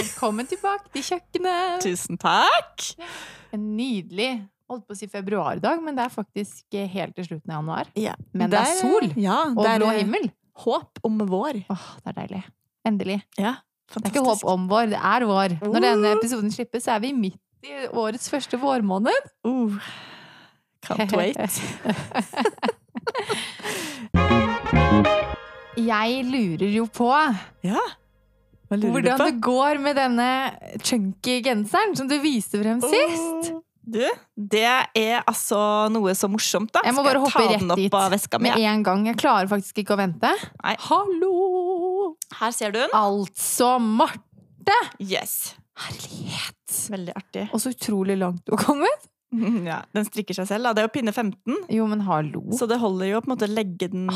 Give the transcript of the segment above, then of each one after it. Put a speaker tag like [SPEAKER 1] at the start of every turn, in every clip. [SPEAKER 1] Velkommen tilbake til kjøkkenet!
[SPEAKER 2] Tusen takk!
[SPEAKER 1] En nydelig holdt på å si februardag, men det er faktisk helt til slutten av januar.
[SPEAKER 2] Ja.
[SPEAKER 1] Men det er sol
[SPEAKER 2] ja,
[SPEAKER 1] og
[SPEAKER 2] det er
[SPEAKER 1] blå himmel.
[SPEAKER 2] Håp om vår.
[SPEAKER 1] Åh, det er deilig. Endelig.
[SPEAKER 2] Ja,
[SPEAKER 1] Det er ikke håp om vår, det er vår. Når denne episoden slippes, så er vi midt i årets første vårmåned.
[SPEAKER 2] Uh, can't wait.
[SPEAKER 1] Jeg lurer jo på
[SPEAKER 2] ja. Hva lurer
[SPEAKER 1] hvordan det
[SPEAKER 2] du på?
[SPEAKER 1] går med denne chunky genseren som du viste frem sist.
[SPEAKER 2] Åh, Uh, Du, det er altså noe så morsomt, da.
[SPEAKER 1] Jeg må
[SPEAKER 2] Skal
[SPEAKER 1] bare hoppe
[SPEAKER 2] ta
[SPEAKER 1] rett
[SPEAKER 2] den opp
[SPEAKER 1] dit
[SPEAKER 2] av veska mi?
[SPEAKER 1] Med
[SPEAKER 2] ja?
[SPEAKER 1] en gang. Jeg klarer faktisk ikke å vente.
[SPEAKER 2] Nei.
[SPEAKER 1] Hallo!
[SPEAKER 2] Her ser du den.
[SPEAKER 1] Altså, Marte!
[SPEAKER 2] Yes.
[SPEAKER 1] Herlighet!
[SPEAKER 2] Veldig artig.
[SPEAKER 1] Og så utrolig langt du har kommet.
[SPEAKER 2] Ja, den strikker seg selv. da. Det er jo pinne 15,
[SPEAKER 1] Jo, men hallo.
[SPEAKER 2] så det holder jo å på en måte legge den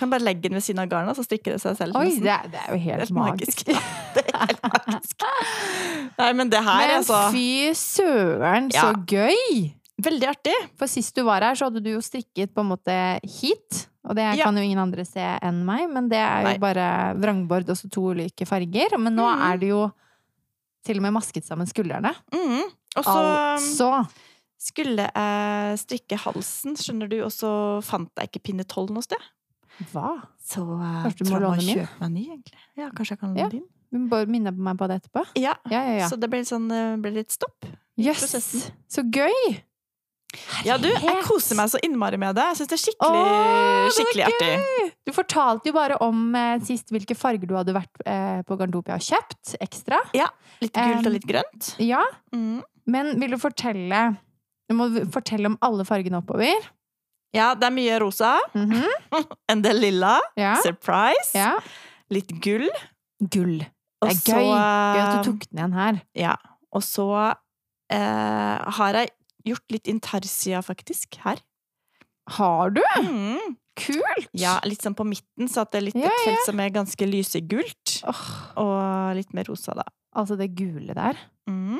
[SPEAKER 2] Kan bare legge den ved siden av garnet, så strikker det liksom- seg selv.
[SPEAKER 1] Ah. Oi,
[SPEAKER 2] nesten.
[SPEAKER 1] det er, det er jo helt,
[SPEAKER 2] Helt
[SPEAKER 1] magisk.
[SPEAKER 2] magisk. Det er helt magisk. Nei, men det her,
[SPEAKER 1] Men
[SPEAKER 2] altså.
[SPEAKER 1] fy søren, så
[SPEAKER 2] Ja.
[SPEAKER 1] gøy!
[SPEAKER 2] Veldig artig.
[SPEAKER 1] For sist du var her, så hadde du jo strikket på en måte hit. Og det
[SPEAKER 2] Ja.
[SPEAKER 1] kan jo ingen andre se enn meg, men det er jo
[SPEAKER 2] Nei.
[SPEAKER 1] bare vrangbord og så to ulike farger. Men nå
[SPEAKER 2] Mhm.
[SPEAKER 1] er det jo til og med masket sammen skuldrene.
[SPEAKER 2] Mhm. Og så um,
[SPEAKER 1] Altså
[SPEAKER 2] skulle jeg strikke halsen, skjønner du, og så fant jeg ikke pinne 12 noe sted.
[SPEAKER 1] Hva?
[SPEAKER 2] Så
[SPEAKER 1] Kanskje eh, du må låne min?
[SPEAKER 2] kjøpe meg en ny, egentlig. Ja, kanskje jeg kan låne
[SPEAKER 1] Ja.
[SPEAKER 2] din.
[SPEAKER 1] Du må bare minne meg på det etterpå.
[SPEAKER 2] Ja.
[SPEAKER 1] Ja, ja, ja.
[SPEAKER 2] Så det ble litt, sånn, eh, ble litt stopp.
[SPEAKER 1] Jøss!
[SPEAKER 2] prosessen.
[SPEAKER 1] Så gøy!
[SPEAKER 2] Ja, du, jeg
[SPEAKER 1] Herlighet.
[SPEAKER 2] koser meg så innmari med det. Jeg syns det er skikkelig,
[SPEAKER 1] Åh, det var
[SPEAKER 2] skikkelig artig.
[SPEAKER 1] Du fortalte jo bare om eh, sist hvilke farger du hadde vært eh, på Garntopia og kjøpt ekstra.
[SPEAKER 2] Litt gult
[SPEAKER 1] Um,
[SPEAKER 2] og litt grønt.
[SPEAKER 1] Ja,
[SPEAKER 2] Mm.
[SPEAKER 1] men vil du fortelle Du må fortelle om alle fargene oppover.
[SPEAKER 2] Ja, det er mye rosa.
[SPEAKER 1] Mhm,
[SPEAKER 2] En del lilla.
[SPEAKER 1] Ja.
[SPEAKER 2] Surprise.
[SPEAKER 1] ja.
[SPEAKER 2] Litt gull.
[SPEAKER 1] Gull.
[SPEAKER 2] Og
[SPEAKER 1] Det er
[SPEAKER 2] så,
[SPEAKER 1] gøy. Gøy at
[SPEAKER 2] eh,
[SPEAKER 1] du tok den igjen her.
[SPEAKER 2] Og så eh, har jeg gjort litt intarsia, faktisk, her.
[SPEAKER 1] Har du?
[SPEAKER 2] Mm.
[SPEAKER 1] Kult!
[SPEAKER 2] Ja, litt sånn på midten, så at det er litt
[SPEAKER 1] Ja,
[SPEAKER 2] et felt som er ganske lysegult.
[SPEAKER 1] Åh,
[SPEAKER 2] Og litt mer rosa, da.
[SPEAKER 1] altså, det gule der.
[SPEAKER 2] Mm.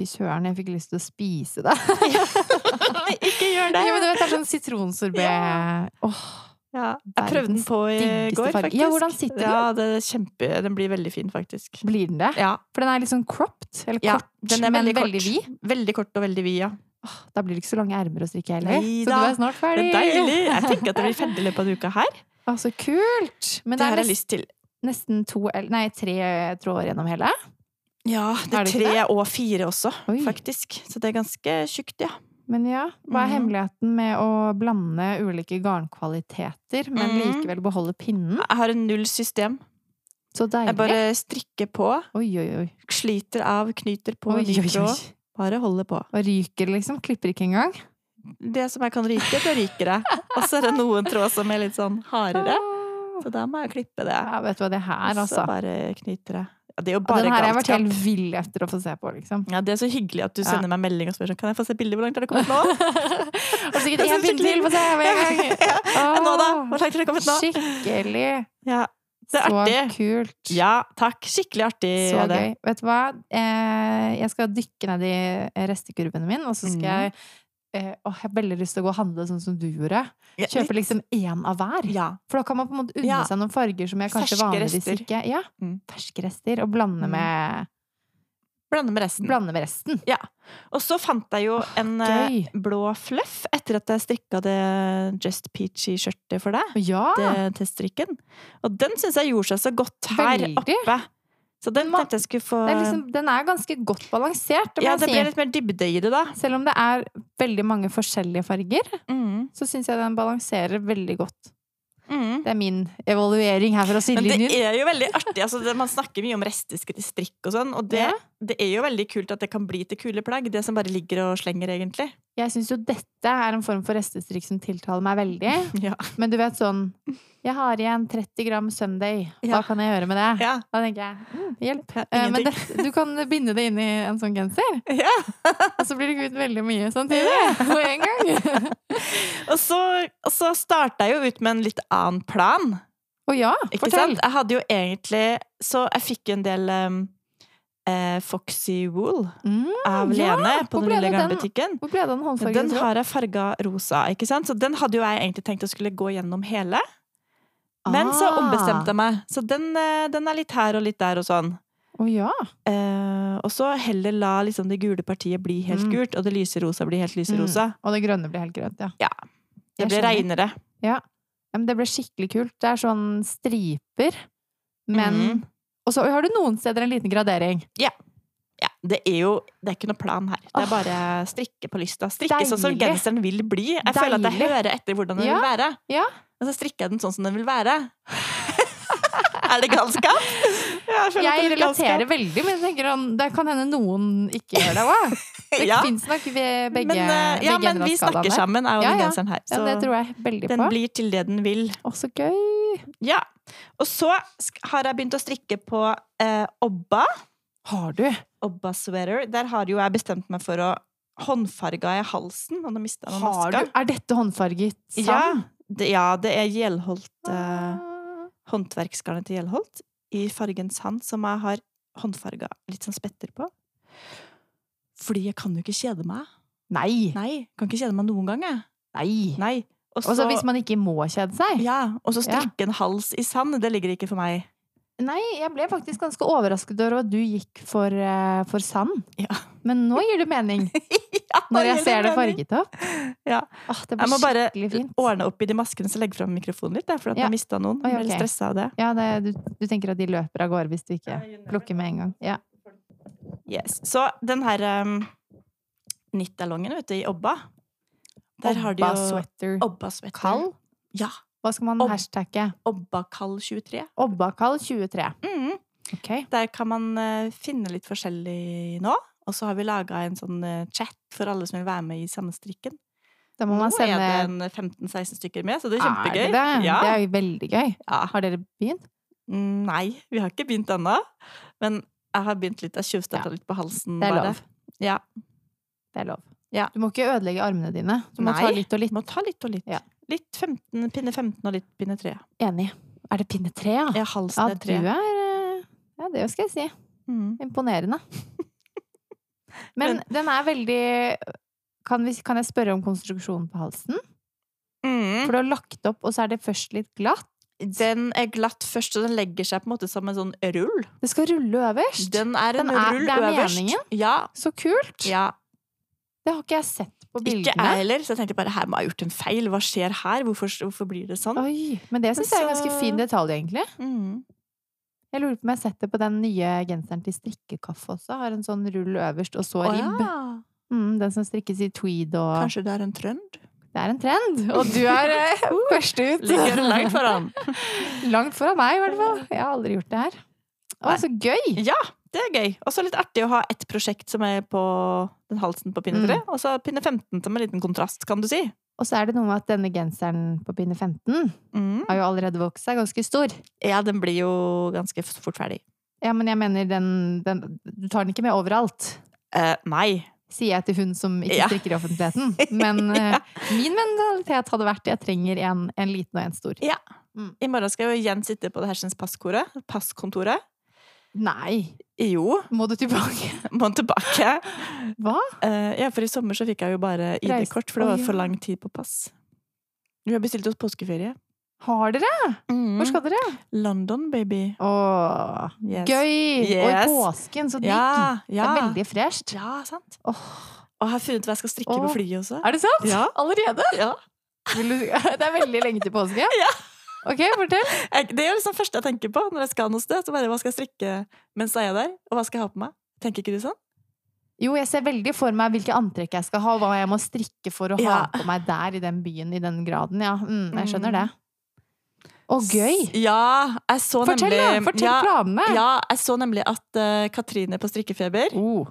[SPEAKER 1] Fy søren, jeg fikk lyst til å spise det.
[SPEAKER 2] Ikke
[SPEAKER 1] Nei,
[SPEAKER 2] gjør det!
[SPEAKER 1] men du vet, det er sånn sitronsorbet
[SPEAKER 2] Ja.
[SPEAKER 1] Åh,
[SPEAKER 2] Ja, jeg prøvde den
[SPEAKER 1] Verdens
[SPEAKER 2] på i
[SPEAKER 1] diggeste
[SPEAKER 2] går,
[SPEAKER 1] farge.
[SPEAKER 2] faktisk.
[SPEAKER 1] Ja, hvordan sitter den?
[SPEAKER 2] Ja, det er kjempe, den blir veldig fin, faktisk.
[SPEAKER 1] Blir den det?
[SPEAKER 2] Ja,
[SPEAKER 1] For den er litt sånn cropped. Eller
[SPEAKER 2] ja
[SPEAKER 1] kort,
[SPEAKER 2] den er
[SPEAKER 1] men
[SPEAKER 2] veldig kort.
[SPEAKER 1] veldig vid.
[SPEAKER 2] Veldig kort og veldig vid, ja.
[SPEAKER 1] Åh, Da blir det ikke så lange ermer å strikke heller.
[SPEAKER 2] Nei
[SPEAKER 1] Så
[SPEAKER 2] da.
[SPEAKER 1] du er snart
[SPEAKER 2] Det
[SPEAKER 1] ferdig.
[SPEAKER 2] er deilig! Jeg tenker at det blir ferdig i løpet av en uke her.
[SPEAKER 1] Å, så kult! Men det
[SPEAKER 2] Det her
[SPEAKER 1] er
[SPEAKER 2] har jeg
[SPEAKER 1] nest,
[SPEAKER 2] lyst til.
[SPEAKER 1] nesten to, eller- nei, tre eh, tråder gjennom hele.
[SPEAKER 2] Ja, det
[SPEAKER 1] Er
[SPEAKER 2] er
[SPEAKER 1] det ikke
[SPEAKER 2] tre og fire også,
[SPEAKER 1] Oi.
[SPEAKER 2] faktisk. Så det er ganske tjukt, ja.
[SPEAKER 1] Men ja, hva er
[SPEAKER 2] Mhm.
[SPEAKER 1] hemmeligheten med å blande ulike garnkvaliteter, men
[SPEAKER 2] Mhm.
[SPEAKER 1] likevel beholde pinnen?
[SPEAKER 2] Jeg har en null system.
[SPEAKER 1] Så deilig.
[SPEAKER 2] Jeg bare strikker på,
[SPEAKER 1] Oi, oi, oi.
[SPEAKER 2] sliter av, knyter på,
[SPEAKER 1] Oi,
[SPEAKER 2] ny
[SPEAKER 1] oi, oi.
[SPEAKER 2] tråd. Bare holder på.
[SPEAKER 1] Og ryker liksom. Klipper ikke engang.
[SPEAKER 2] Det som jeg kan ryke, det ryker jeg. Og så er det noen tråd som er litt sånn hardere,
[SPEAKER 1] Åh.
[SPEAKER 2] så da må jeg klippe det.
[SPEAKER 1] Ja, vet du hva det her,
[SPEAKER 2] Og så
[SPEAKER 1] altså.
[SPEAKER 2] bare knyter jeg. Ja, det er jo
[SPEAKER 1] Ja,
[SPEAKER 2] bare
[SPEAKER 1] Den her har jeg vært
[SPEAKER 2] galskap.
[SPEAKER 1] helt vill etter å få se på, liksom.
[SPEAKER 2] Ja, det er så hyggelig at du sender meg melding og spør sånn Kan jeg få se bildet? Hvor langt har det kommet nå?
[SPEAKER 1] Og sikkert
[SPEAKER 2] Jeg
[SPEAKER 1] én
[SPEAKER 2] synes
[SPEAKER 1] pinne
[SPEAKER 2] skikkelig-
[SPEAKER 1] til! Få se med en gang!
[SPEAKER 2] Ja,
[SPEAKER 1] Åh,
[SPEAKER 2] nå da? Hvor langt har det kommet nå?
[SPEAKER 1] Skikkelig!
[SPEAKER 2] Ja, det er
[SPEAKER 1] så
[SPEAKER 2] artig.
[SPEAKER 1] kult.
[SPEAKER 2] Ja, takk. Skikkelig artig.
[SPEAKER 1] Så
[SPEAKER 2] er det.
[SPEAKER 1] gøy. Vet du hva? Eh, jeg skal dykke ned i restekurven min, og så skal
[SPEAKER 2] Mm.
[SPEAKER 1] jeg eh, åh, jeg har veldig lyst til å gå og handle sånn som du gjorde.
[SPEAKER 2] Ja, litt-
[SPEAKER 1] Kjøpe liksom én av hver.
[SPEAKER 2] Ja.
[SPEAKER 1] For da kan man på en måte unne
[SPEAKER 2] Ja.
[SPEAKER 1] seg noen farger som jeg kanskje
[SPEAKER 2] Ferske
[SPEAKER 1] vanligvis
[SPEAKER 2] rester.
[SPEAKER 1] ikke Ja,
[SPEAKER 2] Mm.
[SPEAKER 1] ferske rester. Og blande
[SPEAKER 2] Mm.
[SPEAKER 1] med,
[SPEAKER 2] Blande med resten.
[SPEAKER 1] blande med resten.
[SPEAKER 2] Og så fant jeg jo en eh,
[SPEAKER 1] gøy.
[SPEAKER 2] blå fluff etter at jeg strikka det Just Peachy-skjørtet for deg.
[SPEAKER 1] Ja!
[SPEAKER 2] Det, til strikken. Og den syns jeg gjorde seg så godt her
[SPEAKER 1] Veldig.
[SPEAKER 2] oppe. Så den
[SPEAKER 1] Men hva-
[SPEAKER 2] tenkte jeg skulle få
[SPEAKER 1] Det er liksom, den er ganske godt balansert, det må
[SPEAKER 2] Ja,
[SPEAKER 1] jeg
[SPEAKER 2] det
[SPEAKER 1] si.
[SPEAKER 2] ble litt mer dybde i det, da.
[SPEAKER 1] Selv om det er veldig mange forskjellige farger,
[SPEAKER 2] Mm.
[SPEAKER 1] så syns jeg den balanserer veldig godt.
[SPEAKER 2] Mm.
[SPEAKER 1] Det er min evaluering her fra
[SPEAKER 2] Men
[SPEAKER 1] sidelinjen.
[SPEAKER 2] det er jo veldig artig. Altså, det, man snakker mye om restestrikk og sånn, og det,
[SPEAKER 1] Ja.
[SPEAKER 2] det er jo veldig kult at det kan bli til kule plagg. Det som bare ligger og slenger, egentlig.
[SPEAKER 1] Jeg syns jo dette er en form for restestrikk som tiltaler meg veldig.
[SPEAKER 2] Ja.
[SPEAKER 1] Men du vet sånn Jeg har igjen 30 gram Sunday. Hva
[SPEAKER 2] Ja.
[SPEAKER 1] kan jeg gjøre med det?
[SPEAKER 2] ja.
[SPEAKER 1] Da tenker jeg mm, hjelp. Eh, Men
[SPEAKER 2] Ingenting.
[SPEAKER 1] det, du kan binde det inn i en sånn genser,
[SPEAKER 2] Ja.
[SPEAKER 1] og så blir det kvitt veldig mye samtidig. På en gang.
[SPEAKER 2] Og så, og så starta jeg jo ut med en litt annen plan.
[SPEAKER 1] Å ja,
[SPEAKER 2] Ikke
[SPEAKER 1] fortell.
[SPEAKER 2] sant? Jeg hadde jo egentlig Så jeg fikk jo en del em, eh, Foxy Wool
[SPEAKER 1] Mm,
[SPEAKER 2] av
[SPEAKER 1] ja,
[SPEAKER 2] Lene på
[SPEAKER 1] hvor
[SPEAKER 2] den
[SPEAKER 1] ble
[SPEAKER 2] lille
[SPEAKER 1] det den?
[SPEAKER 2] garnbutikken.
[SPEAKER 1] hvor ble det av den håndfargen?
[SPEAKER 2] Den
[SPEAKER 1] tror du?
[SPEAKER 2] har jeg farga rosa, ikke sant? Så den hadde jo jeg egentlig tenkt å skulle gå gjennom hele. Men så
[SPEAKER 1] Ah.
[SPEAKER 2] ombestemte jeg meg. Så den, eh, den er litt her og litt der og sånn.
[SPEAKER 1] Ah. Å ja.
[SPEAKER 2] Eh, og så heller la liksom det gule partiet bli helt
[SPEAKER 1] Mm.
[SPEAKER 2] gult, og det lyserosa bli helt lyserosa.
[SPEAKER 1] Og det grønne blir helt grønt, ja.
[SPEAKER 2] Ja.
[SPEAKER 1] Jeg
[SPEAKER 2] Det ble
[SPEAKER 1] skjønner.
[SPEAKER 2] reinere.
[SPEAKER 1] Ja, men det ble skikkelig kult. Det er sånn striper, men
[SPEAKER 2] Mhm.
[SPEAKER 1] Og så har du noen steder en liten gradering.
[SPEAKER 2] Ja, det er jo Det er ikke noe plan her. Det
[SPEAKER 1] Åh.
[SPEAKER 2] er bare strikke på lysta. Strikke sånn som
[SPEAKER 1] Deilig.
[SPEAKER 2] genseren vil bli. Jeg føler at
[SPEAKER 1] Deilig.
[SPEAKER 2] jeg hører etter hvordan den
[SPEAKER 1] Ja,
[SPEAKER 2] vil være.
[SPEAKER 1] ja.
[SPEAKER 2] Og så strikker jeg den sånn som den vil være. er det galskap? Ja, jeg føler at
[SPEAKER 1] Jeg
[SPEAKER 2] det er
[SPEAKER 1] relaterer
[SPEAKER 2] galskap.
[SPEAKER 1] veldig, men jeg tenker sånn, det kan hende noen ikke gjør det òg. Det
[SPEAKER 2] Ja.
[SPEAKER 1] fins nok ved begge,
[SPEAKER 2] men, eh, ja,
[SPEAKER 1] begge
[SPEAKER 2] men
[SPEAKER 1] ender
[SPEAKER 2] vi
[SPEAKER 1] av
[SPEAKER 2] snakker
[SPEAKER 1] skalaen der.
[SPEAKER 2] sammen, er jo
[SPEAKER 1] Ja,
[SPEAKER 2] den
[SPEAKER 1] ja.
[SPEAKER 2] genseren her. Så
[SPEAKER 1] Ja, det tror jeg veldig
[SPEAKER 2] den
[SPEAKER 1] på.
[SPEAKER 2] blir til det den vil.
[SPEAKER 1] Å, så gøy!
[SPEAKER 2] Ja. Og så sk- har jeg begynt å strikke på eh, Obba.
[SPEAKER 1] Har du?
[SPEAKER 2] Obba sweater. Der har jo jeg bestemt meg for å håndfarge av halsen. Og nå mistet jeg noen
[SPEAKER 1] Har du?
[SPEAKER 2] masker.
[SPEAKER 1] Er dette håndfarget
[SPEAKER 2] Ja,
[SPEAKER 1] sand?
[SPEAKER 2] det, ja, det er Gjelholt eh,
[SPEAKER 1] Ah.
[SPEAKER 2] Håndverksgarnet til Gjelholt i fargen sand, som jeg har håndfarga litt sånn spetter på. Fordi jeg kan jo ikke kjede meg.
[SPEAKER 1] Nei!
[SPEAKER 2] Nei, jeg kan ikke kjede meg noen gang, jeg.
[SPEAKER 1] Nei!
[SPEAKER 2] Nei. Og
[SPEAKER 1] Og så hvis man ikke må kjede seg.
[SPEAKER 2] ja, og så
[SPEAKER 1] Ja.
[SPEAKER 2] strikke en hals i sand, det ligger ikke for meg.
[SPEAKER 1] Nei, jeg ble faktisk ganske overrasket over at du gikk for, eh, for sand.
[SPEAKER 2] Ja.
[SPEAKER 1] Men nå gir det mening, når jeg ser det farget opp.
[SPEAKER 2] Ja.
[SPEAKER 1] Åh, det
[SPEAKER 2] Jeg må
[SPEAKER 1] blir
[SPEAKER 2] bare
[SPEAKER 1] skikkelig fint.
[SPEAKER 2] ordne opp i de maskene som legger fram mikrofonen litt, jeg, for at
[SPEAKER 1] Ja.
[SPEAKER 2] jeg mista noen.
[SPEAKER 1] Oi,
[SPEAKER 2] Jeg ble
[SPEAKER 1] ok.
[SPEAKER 2] litt stressa av det.
[SPEAKER 1] Ja, det, du, du tenker at de løper av gårde hvis du ikke plukker med en gang. Ja.
[SPEAKER 2] Yes. Så den her um, nittalongen vet du, i Obba Der har de
[SPEAKER 1] Obba
[SPEAKER 2] jo
[SPEAKER 1] sweater.
[SPEAKER 2] Obba sweater.
[SPEAKER 1] Kall?
[SPEAKER 2] Ja.
[SPEAKER 1] Hva skal man
[SPEAKER 2] Ob-
[SPEAKER 1] hashtagge?
[SPEAKER 2] Obbakall23.
[SPEAKER 1] Obbakall 23.
[SPEAKER 2] Mm.
[SPEAKER 1] Ok.
[SPEAKER 2] Der kan man eh, finne litt forskjellig nå. Og så har vi laga en sånn eh, chat for alle som vil være med i samme strikken.
[SPEAKER 1] Da må
[SPEAKER 2] Nå
[SPEAKER 1] man sende
[SPEAKER 2] er det en 15-16 stykker med, så det er
[SPEAKER 1] Er
[SPEAKER 2] kjempegøy.
[SPEAKER 1] det det?
[SPEAKER 2] Ja.
[SPEAKER 1] Det er jo veldig gøy.
[SPEAKER 2] Ja.
[SPEAKER 1] Har dere begynt?
[SPEAKER 2] Mm, Nei, vi har ikke begynt ennå. Men jeg har begynt litt, jeg tjuvstarta litt på halsen.
[SPEAKER 1] Det er
[SPEAKER 2] bare.
[SPEAKER 1] lov.
[SPEAKER 2] Ja.
[SPEAKER 1] Det er lov.
[SPEAKER 2] Ja.
[SPEAKER 1] Du må ikke ødelegge armene dine. Du må
[SPEAKER 2] Nei.
[SPEAKER 1] ta litt og litt.
[SPEAKER 2] Må ta litt og litt.
[SPEAKER 1] Ja.
[SPEAKER 2] Litt 15, pinne 15 og litt pinne 3.
[SPEAKER 1] Enig. Er det pinne tre, ja?
[SPEAKER 2] Ja,
[SPEAKER 1] Ah, Ja,
[SPEAKER 2] halsen er
[SPEAKER 1] du
[SPEAKER 2] 3.
[SPEAKER 1] er eh, Ja, det skal jeg si.
[SPEAKER 2] Mm.
[SPEAKER 1] Imponerende. Men den er veldig kan, vi, kan jeg spørre om konstruksjonen på halsen?
[SPEAKER 2] Mm.
[SPEAKER 1] For du har lagt opp, og så er det først litt glatt.
[SPEAKER 2] Den er glatt først, og den legger seg på en måte som en sånn rull.
[SPEAKER 1] Det skal rulle øverst!
[SPEAKER 2] Den er en
[SPEAKER 1] Den er-
[SPEAKER 2] rull
[SPEAKER 1] det er
[SPEAKER 2] øverst.
[SPEAKER 1] meningen?
[SPEAKER 2] Ja.
[SPEAKER 1] Så kult!
[SPEAKER 2] ja.
[SPEAKER 1] Det har ikke jeg sett på
[SPEAKER 2] Ikke jeg
[SPEAKER 1] bildene.
[SPEAKER 2] heller, så jeg tenkte bare her må jeg ha gjort en feil. Hva skjer her? Hvorfor, hvorfor blir det sånn?
[SPEAKER 1] Oi, men det syns jeg er en ganske fin detalj, egentlig.
[SPEAKER 2] Mm.
[SPEAKER 1] Jeg lurer på om jeg har sett det på den nye genseren til strikkekaffe også. Har en sånn rull øverst, og så
[SPEAKER 2] Å
[SPEAKER 1] ribb.
[SPEAKER 2] ja.
[SPEAKER 1] Mm, den som strikkes i tweed og
[SPEAKER 2] Kanskje det er en trønd?
[SPEAKER 1] Det er en trend! Og du er eh, først ut.
[SPEAKER 2] Ligger langt foran.
[SPEAKER 1] Langt foran meg, i hvert fall. Jeg har aldri gjort det her. Å,
[SPEAKER 2] Nei.
[SPEAKER 1] så gøy!
[SPEAKER 2] Ja, det er gøy. Og så litt artig å ha ett prosjekt som er på den halsen på pinne 3, og så pinne 15 som en liten kontrast, kan du si.
[SPEAKER 1] Og så er det noe med at denne genseren på pinne 15
[SPEAKER 2] Mm.
[SPEAKER 1] har jo allerede vokst seg ganske stor.
[SPEAKER 2] Ja, den blir jo ganske f- fort ferdig.
[SPEAKER 1] Ja, men jeg mener den, den Du tar den ikke med overalt,
[SPEAKER 2] Eh, nei.
[SPEAKER 1] sier jeg til hun som ikke
[SPEAKER 2] Ja.
[SPEAKER 1] strikker i offentligheten. Men eh, min mentalitet hadde vært jeg trenger en, en liten og en stor.
[SPEAKER 2] I morgen skal jeg jo igjen sitte på det hersens passkoret. Passkontoret.
[SPEAKER 1] Nei!
[SPEAKER 2] Jo,
[SPEAKER 1] Må du tilbake?
[SPEAKER 2] må tilbake.
[SPEAKER 1] Hva?
[SPEAKER 2] Eh, ja, for i sommer så fikk jeg jo bare ID-kort, for det
[SPEAKER 1] Å,
[SPEAKER 2] var
[SPEAKER 1] ja.
[SPEAKER 2] for lang tid på pass. Vi har bestilt oss påskeferie. Mm-hmm.
[SPEAKER 1] Har dere? Hvor skal dere?
[SPEAKER 2] London, baby.
[SPEAKER 1] Åh,
[SPEAKER 2] Mm. Yes.
[SPEAKER 1] gøy! Og
[SPEAKER 2] Yes.
[SPEAKER 1] i påsken, så digg!
[SPEAKER 2] Ja,
[SPEAKER 1] Det
[SPEAKER 2] ja.
[SPEAKER 1] er veldig fresht.
[SPEAKER 2] Ja, sant.
[SPEAKER 1] Åh,
[SPEAKER 2] Og jeg har funnet ut hva jeg skal strikke
[SPEAKER 1] Å.
[SPEAKER 2] på flyet også.
[SPEAKER 1] er det sant?
[SPEAKER 2] Ja.
[SPEAKER 1] Allerede?
[SPEAKER 2] Ja.
[SPEAKER 1] Vil du, det er veldig lenge til påske.
[SPEAKER 2] Ja.
[SPEAKER 1] Ok, fortell.
[SPEAKER 2] Jeg, det er liksom det første jeg tenker på når jeg skal noe sted. Så bare, hva skal jeg strikke mens jeg er der? Og hva skal jeg ha på meg? Tenker ikke du sånn?
[SPEAKER 1] Jo, jeg ser veldig for meg hvilke antrekk jeg skal ha, og hva jeg må strikke for å ha
[SPEAKER 2] Ja.
[SPEAKER 1] på meg der i den byen, i den graden. Ja, mm, jeg skjønner det.
[SPEAKER 2] Mm.
[SPEAKER 1] Å, gøy!
[SPEAKER 2] Ja, jeg så
[SPEAKER 1] Fortell,
[SPEAKER 2] nemlig
[SPEAKER 1] da! Fortell
[SPEAKER 2] ja,
[SPEAKER 1] planene!
[SPEAKER 2] ja, jeg så nemlig at eh, Katrine på Strikkefeber
[SPEAKER 1] Oh.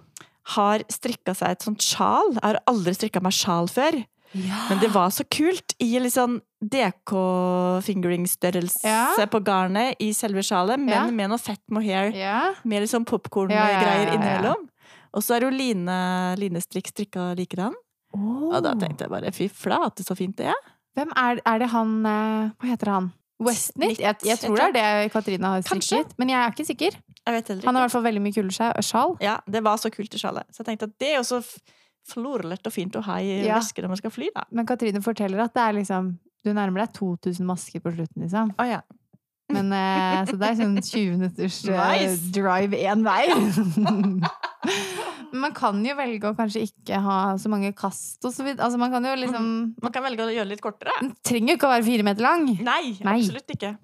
[SPEAKER 2] har strikka seg et sånt sjal. Jeg har aldri strikka meg sjal før.
[SPEAKER 1] Ja.
[SPEAKER 2] Men det var så kult i litt sånn DK-fingering-størrelse
[SPEAKER 1] Ja.
[SPEAKER 2] på garnet i selve sjalet, men
[SPEAKER 1] Ja.
[SPEAKER 2] med noe fett mohair.
[SPEAKER 1] ja.
[SPEAKER 2] Med litt sånn
[SPEAKER 1] Ja, ja, ja,
[SPEAKER 2] popkorn-greier
[SPEAKER 1] ja, ja.
[SPEAKER 2] innimellom. Og så er jo Line, Linestrikk strikka likedan. Og
[SPEAKER 1] Oh.
[SPEAKER 2] da tenkte jeg bare fy flate, så fint det er.
[SPEAKER 1] Hvem er, er det han eh, Hva heter han? Westnit?
[SPEAKER 2] Smith,
[SPEAKER 1] Jeg, jeg tror det er det Katrina har
[SPEAKER 2] Kanskje.
[SPEAKER 1] strikket, men jeg er ikke sikker.
[SPEAKER 2] Jeg vet heller
[SPEAKER 1] Han har i
[SPEAKER 2] ikke.
[SPEAKER 1] hvert fall veldig mye kule sja- sjal.
[SPEAKER 2] Ja, det var så kult i sjalet. Så jeg tenkte at det er jo så f- florlett og fint å ha i
[SPEAKER 1] Ja.
[SPEAKER 2] vesker når man skal fly, da.
[SPEAKER 1] Men Katrine forteller at det er liksom Du nærmer deg 2000 masker på slutten, liksom.
[SPEAKER 2] Å ja.
[SPEAKER 1] Men, eh, så det er sånn 20 minutters eh,
[SPEAKER 2] Nice.
[SPEAKER 1] drive én vei. Men man kan jo velge å kanskje ikke ha så mange kast og så videre. Altså, man kan jo liksom
[SPEAKER 2] Man kan velge å gjøre det litt kortere.
[SPEAKER 1] Den trenger jo ikke å være fire meter lang.
[SPEAKER 2] Nei,
[SPEAKER 1] Nei.
[SPEAKER 2] absolutt ikke.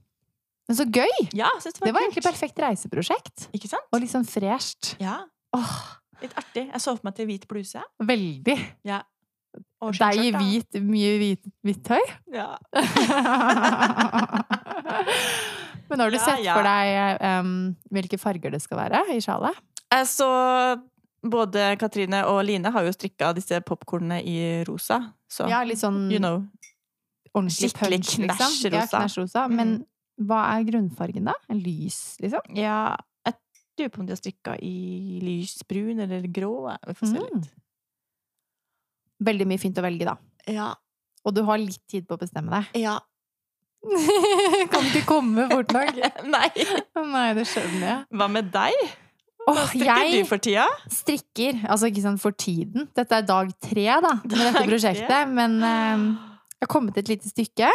[SPEAKER 1] Men så gøy!
[SPEAKER 2] Ja, jeg synes det var,
[SPEAKER 1] Det var
[SPEAKER 2] kult.
[SPEAKER 1] egentlig perfekt reiseprosjekt.
[SPEAKER 2] Ikke sant?
[SPEAKER 1] Og litt sånn fresht.
[SPEAKER 2] Ja,
[SPEAKER 1] Åh,
[SPEAKER 2] litt artig. Jeg så for meg til hvit bluse.
[SPEAKER 1] veldig.
[SPEAKER 2] og
[SPEAKER 1] Deg i
[SPEAKER 2] skinnskjørt, da.
[SPEAKER 1] hvit, mye hvit, hvitt tøy.
[SPEAKER 2] Ja.
[SPEAKER 1] Men har du
[SPEAKER 2] Ja,
[SPEAKER 1] sett
[SPEAKER 2] ja.
[SPEAKER 1] for deg eh, em, hvilke farger det skal være i sjalet?
[SPEAKER 2] Eh, Så både Katrine og Line har jo strikka disse popkornene i rosa. Så
[SPEAKER 1] Ja, litt sånn
[SPEAKER 2] you know.
[SPEAKER 1] ordentlig
[SPEAKER 2] skikkelig
[SPEAKER 1] punch, liksom.
[SPEAKER 2] knæsj
[SPEAKER 1] Ja,
[SPEAKER 2] rosa.
[SPEAKER 1] knæsj rosa. Men hva er grunnfargen, da? En lys, liksom?
[SPEAKER 2] Ja, jeg lurer på om de har strikka i lysbrun eller grå. Vi får se
[SPEAKER 1] Mm.
[SPEAKER 2] litt.
[SPEAKER 1] Veldig mye fint å velge, da.
[SPEAKER 2] Ja,
[SPEAKER 1] Og du har litt tid på å bestemme deg.
[SPEAKER 2] ja.
[SPEAKER 1] kan ikke komme fort nok.
[SPEAKER 2] Nei!
[SPEAKER 1] Nei, det skjønner jeg.
[SPEAKER 2] Hva med deg? Hva
[SPEAKER 1] Åh,
[SPEAKER 2] strikker
[SPEAKER 1] jeg
[SPEAKER 2] du for tida?
[SPEAKER 1] strikker, altså ikke sånn for tiden. Dette er dag tre, da, med dette
[SPEAKER 2] Dag tre.
[SPEAKER 1] prosjektet. Men eh,
[SPEAKER 2] um,
[SPEAKER 1] jeg har kommet et lite stykke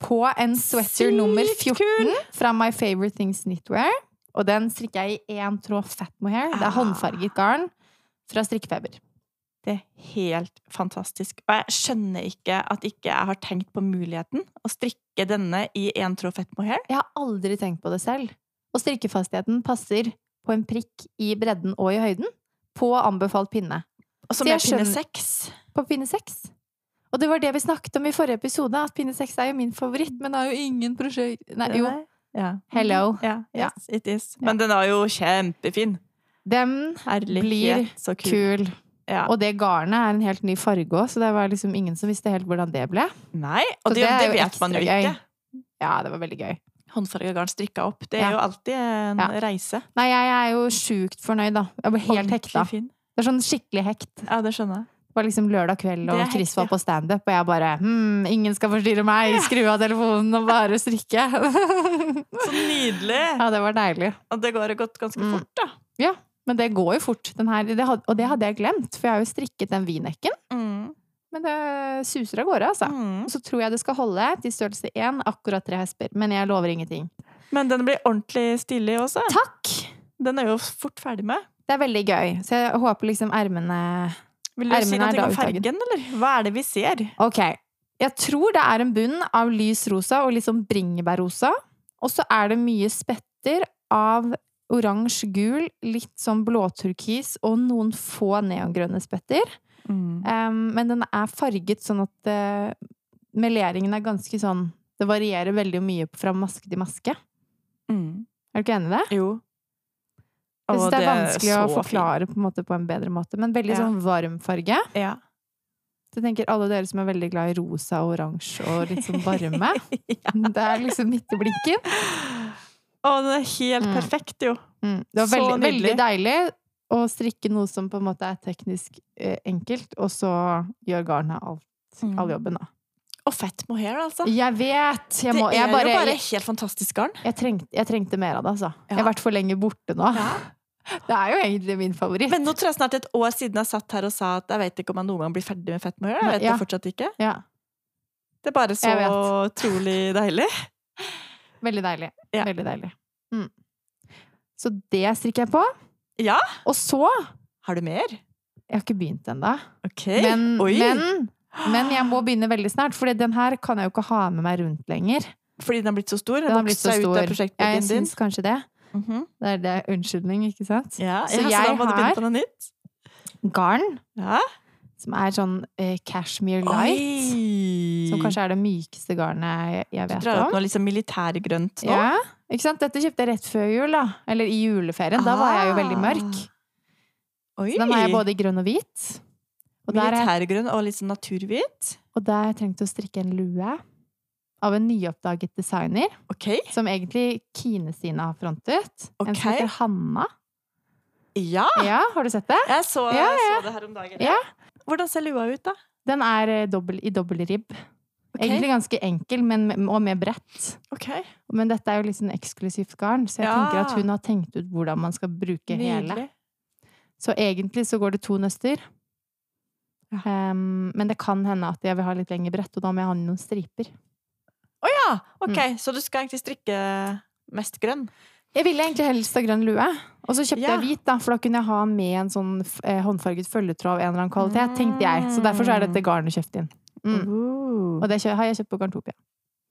[SPEAKER 1] på en sweater
[SPEAKER 2] Sykt
[SPEAKER 1] nummer 14
[SPEAKER 2] kul!
[SPEAKER 1] fra My Favorite Things Knitwear. Og den strikker jeg i én tråd fat mohair. Det
[SPEAKER 2] Ah.
[SPEAKER 1] er håndfarget garn fra strikkefeber.
[SPEAKER 2] Det er helt fantastisk. Og jeg skjønner ikke at ikke jeg har tenkt på muligheten å strikke denne i en tråd fett mohair.
[SPEAKER 1] Jeg har aldri tenkt på det selv. Og strikkefastheten passer på en prikk i bredden og i høyden på anbefalt pinne.
[SPEAKER 2] Og som
[SPEAKER 1] Så
[SPEAKER 2] er
[SPEAKER 1] jeg
[SPEAKER 2] pinne
[SPEAKER 1] skjønner-
[SPEAKER 2] seks.
[SPEAKER 1] på pinne 6. Og det var det vi snakket om i forrige episode, at pinne 6 er jo min favoritt, men har jo ingen prosjekt... Nei, jo.
[SPEAKER 2] Eh, Ja. Mm.
[SPEAKER 1] Hello.
[SPEAKER 2] Ja,
[SPEAKER 1] Ja.
[SPEAKER 2] yes, it is. Men den er jo kjempefin.
[SPEAKER 1] Den
[SPEAKER 2] Herlighet,
[SPEAKER 1] Blir
[SPEAKER 2] så kul.
[SPEAKER 1] kul.
[SPEAKER 2] Ja.
[SPEAKER 1] Og det garnet er en helt ny farge òg, så det var liksom ingen som visste helt hvordan det ble.
[SPEAKER 2] Nei, og
[SPEAKER 1] Så
[SPEAKER 2] det,
[SPEAKER 1] det er
[SPEAKER 2] det
[SPEAKER 1] jo
[SPEAKER 2] vet
[SPEAKER 1] ekstra
[SPEAKER 2] man jo
[SPEAKER 1] gøy.
[SPEAKER 2] ikke.
[SPEAKER 1] Ja, det var veldig gøy.
[SPEAKER 2] Håndfarga garn strikka opp. Det
[SPEAKER 1] Ja.
[SPEAKER 2] er jo alltid en
[SPEAKER 1] Ja.
[SPEAKER 2] reise.
[SPEAKER 1] Nei, jeg er jo sjukt fornøyd, da. Jeg ble helt
[SPEAKER 2] Ordentlig
[SPEAKER 1] hekta.
[SPEAKER 2] Fin.
[SPEAKER 1] Det er sånn skikkelig hekt.
[SPEAKER 2] Ja, det skjønner jeg.
[SPEAKER 1] Det var liksom lørdag kveld,
[SPEAKER 2] Det
[SPEAKER 1] og
[SPEAKER 2] er hekt,
[SPEAKER 1] Chris
[SPEAKER 2] ja.
[SPEAKER 1] var på standup, og jeg bare hm, ingen skal forstyrre meg, skru av telefonen og bare strikke.
[SPEAKER 2] Så nydelig!
[SPEAKER 1] ja, det var deilig.
[SPEAKER 2] Og det går jo gått ganske
[SPEAKER 1] Mm.
[SPEAKER 2] fort, da.
[SPEAKER 1] Men det går jo fort. Den her, det had, og det hadde jeg glemt, for jeg har jo strikket den V-nekken. Men det suser av gårde, altså.
[SPEAKER 2] Mm.
[SPEAKER 1] Og så tror jeg det skal holde til størrelse én, akkurat tre hesper. Men jeg lover ingenting.
[SPEAKER 2] Men den blir ordentlig stilig også.
[SPEAKER 1] Takk!
[SPEAKER 2] Den er jo fort ferdig med.
[SPEAKER 1] Det er veldig gøy. Så jeg håper liksom ermene
[SPEAKER 2] Vil du si
[SPEAKER 1] Ermene
[SPEAKER 2] noe
[SPEAKER 1] er da
[SPEAKER 2] om
[SPEAKER 1] utagen.
[SPEAKER 2] fargen, eller? Hva er det vi ser?
[SPEAKER 1] Ok. Jeg tror det er en bunn av lys rosa og litt sånn bringebærrosa. Og så er det mye spetter av oransje, gul, litt sånn blåturkis og noen få neongrønne spetter.
[SPEAKER 2] Mm.
[SPEAKER 1] Em, men den er farget sånn at eh, meleringen er ganske sånn Det varierer veldig mye fra maske til maske.
[SPEAKER 2] Mm.
[SPEAKER 1] Er du ikke enig i det?
[SPEAKER 2] Jo.
[SPEAKER 1] Jeg
[SPEAKER 2] Og
[SPEAKER 1] synes det er vanskelig å
[SPEAKER 2] så
[SPEAKER 1] forklare på en, måte, på en bedre måte, men veldig
[SPEAKER 2] Ja.
[SPEAKER 1] sånn varm farge.
[SPEAKER 2] fint. Ja.
[SPEAKER 1] Så jeg tenker alle dere som er veldig glad i rosa og oransje og litt sånn varme.
[SPEAKER 2] ja.
[SPEAKER 1] Det er liksom midt i blinken.
[SPEAKER 2] Å, den er helt
[SPEAKER 1] Mm.
[SPEAKER 2] perfekt, jo.
[SPEAKER 1] Mm. Det var
[SPEAKER 2] Så
[SPEAKER 1] veldig,
[SPEAKER 2] nydelig.
[SPEAKER 1] veldig deilig å strikke noe som på en måte er teknisk eh, enkelt, og så gjør garnet alt, all jobben, da.
[SPEAKER 2] Og fett mohair, altså.
[SPEAKER 1] Mm. Jeg vet! Jeg, må,
[SPEAKER 2] det
[SPEAKER 1] jeg,
[SPEAKER 2] er
[SPEAKER 1] bare,
[SPEAKER 2] jo bare
[SPEAKER 1] jeg,
[SPEAKER 2] helt fantastisk garn.
[SPEAKER 1] jeg, trengte, jeg trengte mer av det, altså.
[SPEAKER 2] Ja.
[SPEAKER 1] Jeg har vært for lenge borte nå. Det er jo egentlig min favoritt.
[SPEAKER 2] Men nå tror jeg snart et år siden jeg satt her og sa at jeg vet ikke om jeg noen gang blir ferdig med fett mohair. Jeg vet
[SPEAKER 1] Ja.
[SPEAKER 2] det fortsatt ikke.
[SPEAKER 1] ja,
[SPEAKER 2] Det er bare så
[SPEAKER 1] Jeg vet.
[SPEAKER 2] utrolig deilig.
[SPEAKER 1] veldig deilig.
[SPEAKER 2] Ja.
[SPEAKER 1] Veldig deilig. Mm. Så det strikker jeg på.
[SPEAKER 2] Ja.
[SPEAKER 1] Og så
[SPEAKER 2] Har du mer?
[SPEAKER 1] Jeg har ikke begynt ennå.
[SPEAKER 2] Ok.
[SPEAKER 1] Men,
[SPEAKER 2] Oi.
[SPEAKER 1] men, men jeg må begynne veldig snart, for den her kan jeg jo ikke ha med meg rundt lenger.
[SPEAKER 2] Fordi den har blitt så stor?
[SPEAKER 1] Den har blitt så
[SPEAKER 2] vokser ut av
[SPEAKER 1] stor. Jeg
[SPEAKER 2] prosjektblokken din?
[SPEAKER 1] syns kanskje det.
[SPEAKER 2] Mhm.
[SPEAKER 1] Det er det unnskyldning, ikke sant?
[SPEAKER 2] ja,
[SPEAKER 1] Så
[SPEAKER 2] ja, så
[SPEAKER 1] jeg
[SPEAKER 2] da må du
[SPEAKER 1] har-
[SPEAKER 2] begynne på noe nytt?
[SPEAKER 1] Garn,
[SPEAKER 2] Ja.
[SPEAKER 1] som er sånn eh, cashmere light.
[SPEAKER 2] Oi.
[SPEAKER 1] Som kanskje er det mykeste garnet jeg, jeg
[SPEAKER 2] Du
[SPEAKER 1] vet
[SPEAKER 2] drar opp
[SPEAKER 1] om.
[SPEAKER 2] noe liksom militærgrønt nå?
[SPEAKER 1] Ja, ikke sant? Dette kjøpte jeg rett før jul, da. Eller i juleferien. Da var jeg jo veldig mørk.
[SPEAKER 2] Ah, Oi!
[SPEAKER 1] Så den har jeg både i grønn og hvit. Og der, har jeg,
[SPEAKER 2] Militærgrønn og litt sånn naturhvit.
[SPEAKER 1] og der har jeg trengt å strikke en lue av en nyoppdaget designer.
[SPEAKER 2] Ok.
[SPEAKER 1] som egentlig Kine sine har frontet. En som
[SPEAKER 2] Ok.
[SPEAKER 1] heter Hanna.
[SPEAKER 2] Ja!
[SPEAKER 1] Ja, har du sett det?
[SPEAKER 2] Jeg så,
[SPEAKER 1] Ja,
[SPEAKER 2] jeg så det her om dagen.
[SPEAKER 1] Ja.
[SPEAKER 2] Hvordan ser lua ut, da?
[SPEAKER 1] Den er eh, dobbel, i dobbel ribb.
[SPEAKER 2] Ok.
[SPEAKER 1] Egentlig ganske enkel, men, og med bredt.
[SPEAKER 2] Ok.
[SPEAKER 1] Men dette er jo litt sånn eksklusivt garn, så jeg
[SPEAKER 2] Ja.
[SPEAKER 1] tenker at hun har tenkt ut hvordan man skal bruke hele.
[SPEAKER 2] Nydelig.
[SPEAKER 1] Så egentlig så går det to nøster.
[SPEAKER 2] Ja.
[SPEAKER 1] Ehm, men det kan hende at jeg vil ha litt lengre brett, og da må jeg ha noen striper.
[SPEAKER 2] Å ja! Ok, så du skal egentlig strikke mest grønn?
[SPEAKER 1] Jeg ville egentlig helst ha grønn lue. Og så kjøpte
[SPEAKER 2] Ja.
[SPEAKER 1] jeg hvit, da, for da kunne jeg ha med en sånn f- eh, håndfarget følgetråd av en eller annen kvalitet, tenkte jeg. Så derfor så er dette garnet kjøpt inn. Mm.
[SPEAKER 2] Oh,
[SPEAKER 1] Og det kjø- har jeg kjøpt på Garntopia.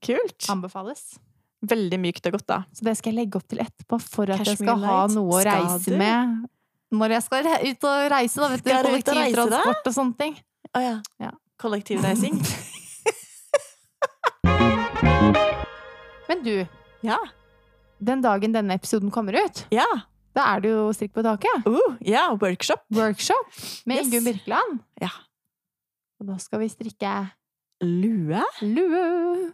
[SPEAKER 2] Kult!
[SPEAKER 1] Anbefales.
[SPEAKER 2] Veldig mykt og godt, da.
[SPEAKER 1] Så det skal jeg legge opp til etterpå, for at jeg skal
[SPEAKER 2] Cashmere
[SPEAKER 1] ha
[SPEAKER 2] light.
[SPEAKER 1] noe å
[SPEAKER 2] Skal
[SPEAKER 1] reise
[SPEAKER 2] du?
[SPEAKER 1] med. Når jeg skal re- ut og reise, da, vet du.
[SPEAKER 2] Skal du ut og reise, da?
[SPEAKER 1] Kollektivtransport og sånne ting.
[SPEAKER 2] Å ja.
[SPEAKER 1] Ja.
[SPEAKER 2] Kollektivreising.
[SPEAKER 1] Men du,
[SPEAKER 2] ja.
[SPEAKER 1] den dagen denne episoden kommer ut,
[SPEAKER 2] Ja.
[SPEAKER 1] da er det jo Strikk på taket.
[SPEAKER 2] Uh, ja, workshop.
[SPEAKER 1] Workshop med
[SPEAKER 2] Yes.
[SPEAKER 1] Ingunn Birkeland.
[SPEAKER 2] Ja.
[SPEAKER 1] Og da skal vi strikke
[SPEAKER 2] Lue.
[SPEAKER 1] lue.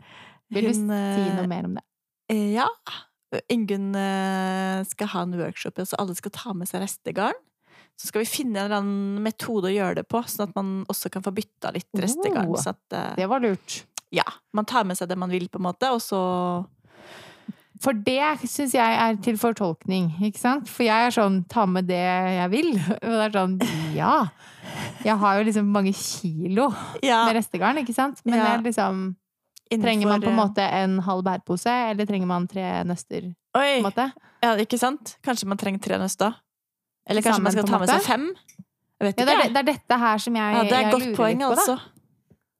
[SPEAKER 1] Vil du
[SPEAKER 2] Hun,
[SPEAKER 1] si
[SPEAKER 2] eh,
[SPEAKER 1] noe mer om det?
[SPEAKER 2] Eh, Ja. Ingunn eh, skal ha en workshop, så alle skal ta med seg restegarn. Så skal vi finne en eller annen metode å gjøre det på, sånn at man også kan få bytta litt restegarn.
[SPEAKER 1] Oh.
[SPEAKER 2] Så at eh,
[SPEAKER 1] Det var lurt.
[SPEAKER 2] ja, man tar med seg det man vil, på en måte, og så
[SPEAKER 1] For det syns jeg er til fortolkning, ikke sant? For jeg er sånn ta med det jeg vil. Og det er sånn ja. Jeg har jo liksom mange kilo
[SPEAKER 2] Ja,
[SPEAKER 1] med restegarn, ikke sant? Men
[SPEAKER 2] Ja.
[SPEAKER 1] det er liksom Trenger
[SPEAKER 2] innenfor,
[SPEAKER 1] man på en
[SPEAKER 2] eh,
[SPEAKER 1] måte en halv bærpose, eller trenger man tre nøster? på en
[SPEAKER 2] eh, Oi!
[SPEAKER 1] måte?
[SPEAKER 2] Ja, ikke sant? Kanskje man trenger tre nøster. Eller
[SPEAKER 1] Til
[SPEAKER 2] kanskje
[SPEAKER 1] sammen,
[SPEAKER 2] man skal
[SPEAKER 1] på
[SPEAKER 2] ta
[SPEAKER 1] en
[SPEAKER 2] med
[SPEAKER 1] måte?
[SPEAKER 2] seg fem? Jeg vet
[SPEAKER 1] Ja, det,
[SPEAKER 2] ikke.
[SPEAKER 1] er, det er dette her som jeg,
[SPEAKER 2] ja, det er
[SPEAKER 1] jeg
[SPEAKER 2] et godt
[SPEAKER 1] lurer
[SPEAKER 2] poeng,
[SPEAKER 1] litt på. Da.
[SPEAKER 2] altså.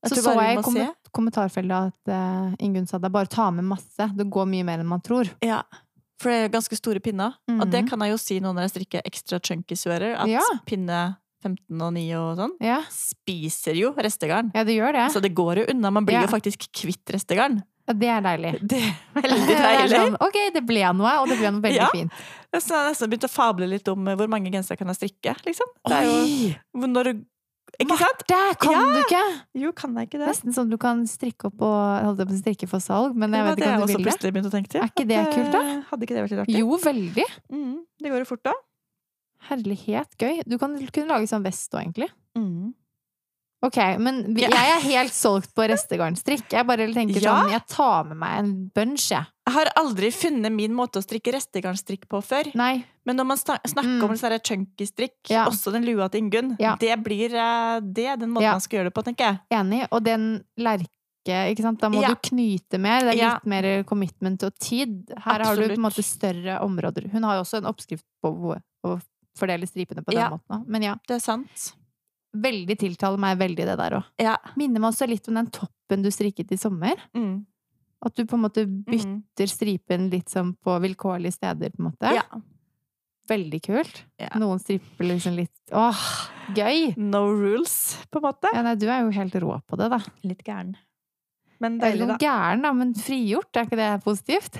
[SPEAKER 2] Jeg
[SPEAKER 1] Så
[SPEAKER 2] tror
[SPEAKER 1] så
[SPEAKER 2] bare vi
[SPEAKER 1] jeg i
[SPEAKER 2] må
[SPEAKER 1] kommen-
[SPEAKER 2] se.
[SPEAKER 1] kommentarfeltet at eh, Ingunn sa det er bare ta med masse. Det går mye mer enn man tror.
[SPEAKER 2] Ja. For det er ganske store pinner. Og det
[SPEAKER 1] Mhm.
[SPEAKER 2] kan jeg jo si nå når jeg strikker ekstra chunky suerer, at
[SPEAKER 1] Ja.
[SPEAKER 2] pinne 15 og 9 og sånn
[SPEAKER 1] Ja,
[SPEAKER 2] spiser jo restegarn.
[SPEAKER 1] ja det gjør det.
[SPEAKER 2] Så det går jo unna. Man blir
[SPEAKER 1] Ja.
[SPEAKER 2] jo faktisk kvitt restegarn.
[SPEAKER 1] Ja, det er deilig.
[SPEAKER 2] Det er veldig
[SPEAKER 1] Det er
[SPEAKER 2] deilig.
[SPEAKER 1] sånn, ok, det ble noe, og det ble noe veldig
[SPEAKER 2] Ja.
[SPEAKER 1] fint.
[SPEAKER 2] Jeg har nesten begynt å fable litt om eh, hvor mange gensere kan jeg strikke, liksom. Det er jo
[SPEAKER 1] Oi!
[SPEAKER 2] hvor- når du Ikke
[SPEAKER 1] Marte!
[SPEAKER 2] sant?
[SPEAKER 1] Der kan
[SPEAKER 2] Ja.
[SPEAKER 1] du ikke!
[SPEAKER 2] Jo, kan jeg ikke det?
[SPEAKER 1] Nesten sånn du kan strikke opp og holdt jeg på å si strikke for salg, men
[SPEAKER 2] Det
[SPEAKER 1] jeg
[SPEAKER 2] var
[SPEAKER 1] vet
[SPEAKER 2] det
[SPEAKER 1] ikke
[SPEAKER 2] jeg
[SPEAKER 1] om du
[SPEAKER 2] også
[SPEAKER 1] vil det.
[SPEAKER 2] plutselig begynte å tenke til.
[SPEAKER 1] Er ikke
[SPEAKER 2] At,
[SPEAKER 1] det kult, da?
[SPEAKER 2] eh, Hadde ikke det vært litt artig?
[SPEAKER 1] Jo, veldig.
[SPEAKER 2] Mm, det går jo fort, da.
[SPEAKER 1] Herlighet gøy. Du kan kunne lage sånn vest òg, egentlig.
[SPEAKER 2] Mm.
[SPEAKER 1] Ok, men vi-
[SPEAKER 2] Ja.
[SPEAKER 1] jeg er helt solgt på restegarnstrikk. Jeg bare tenker
[SPEAKER 2] Ja.
[SPEAKER 1] sånn, jeg tar med meg en bunch, jeg.
[SPEAKER 2] Jeg har aldri funnet min måte å strikke restegarnstrikk på før.
[SPEAKER 1] Nei.
[SPEAKER 2] Men når man snak- snakker
[SPEAKER 1] Mm.
[SPEAKER 2] om sånn her chunky strikk,
[SPEAKER 1] Ja.
[SPEAKER 2] også den lua til Ingunn,
[SPEAKER 1] Ja.
[SPEAKER 2] det blir eh, det er den måten
[SPEAKER 1] Ja.
[SPEAKER 2] man skal gjøre det på, tenker jeg.
[SPEAKER 1] Enig. Og den lerke, ikke sant. Da må
[SPEAKER 2] Ja.
[SPEAKER 1] du knyte mer. Det er
[SPEAKER 2] Ja.
[SPEAKER 1] litt mer commitment og tid. Her har du på en måte større områder. Hun har jo også en oppskrift på hvor- å fordele stripene på den
[SPEAKER 2] Ja.
[SPEAKER 1] måten òg. Men ja.
[SPEAKER 2] Det er sant.
[SPEAKER 1] Veldig tiltaler meg veldig det der òg.
[SPEAKER 2] Ja.
[SPEAKER 1] Minner meg også litt om den toppen du strikket i sommer.
[SPEAKER 2] Mm.
[SPEAKER 1] At du på en måte bytter
[SPEAKER 2] Mm.
[SPEAKER 1] stripen litt sånn på vilkårlige steder, på en måte.
[SPEAKER 2] Ja.
[SPEAKER 1] Veldig kult.
[SPEAKER 2] Ja.
[SPEAKER 1] Noen stripper liksom litt Åh, gøy!
[SPEAKER 2] No rules, på en måte.
[SPEAKER 1] Ja, nei, du er jo helt rå på det, da.
[SPEAKER 2] Litt gæren. Men
[SPEAKER 1] Jeg er
[SPEAKER 2] deilig,
[SPEAKER 1] noen
[SPEAKER 2] da.
[SPEAKER 1] gæren, da, men frigjort, er ikke det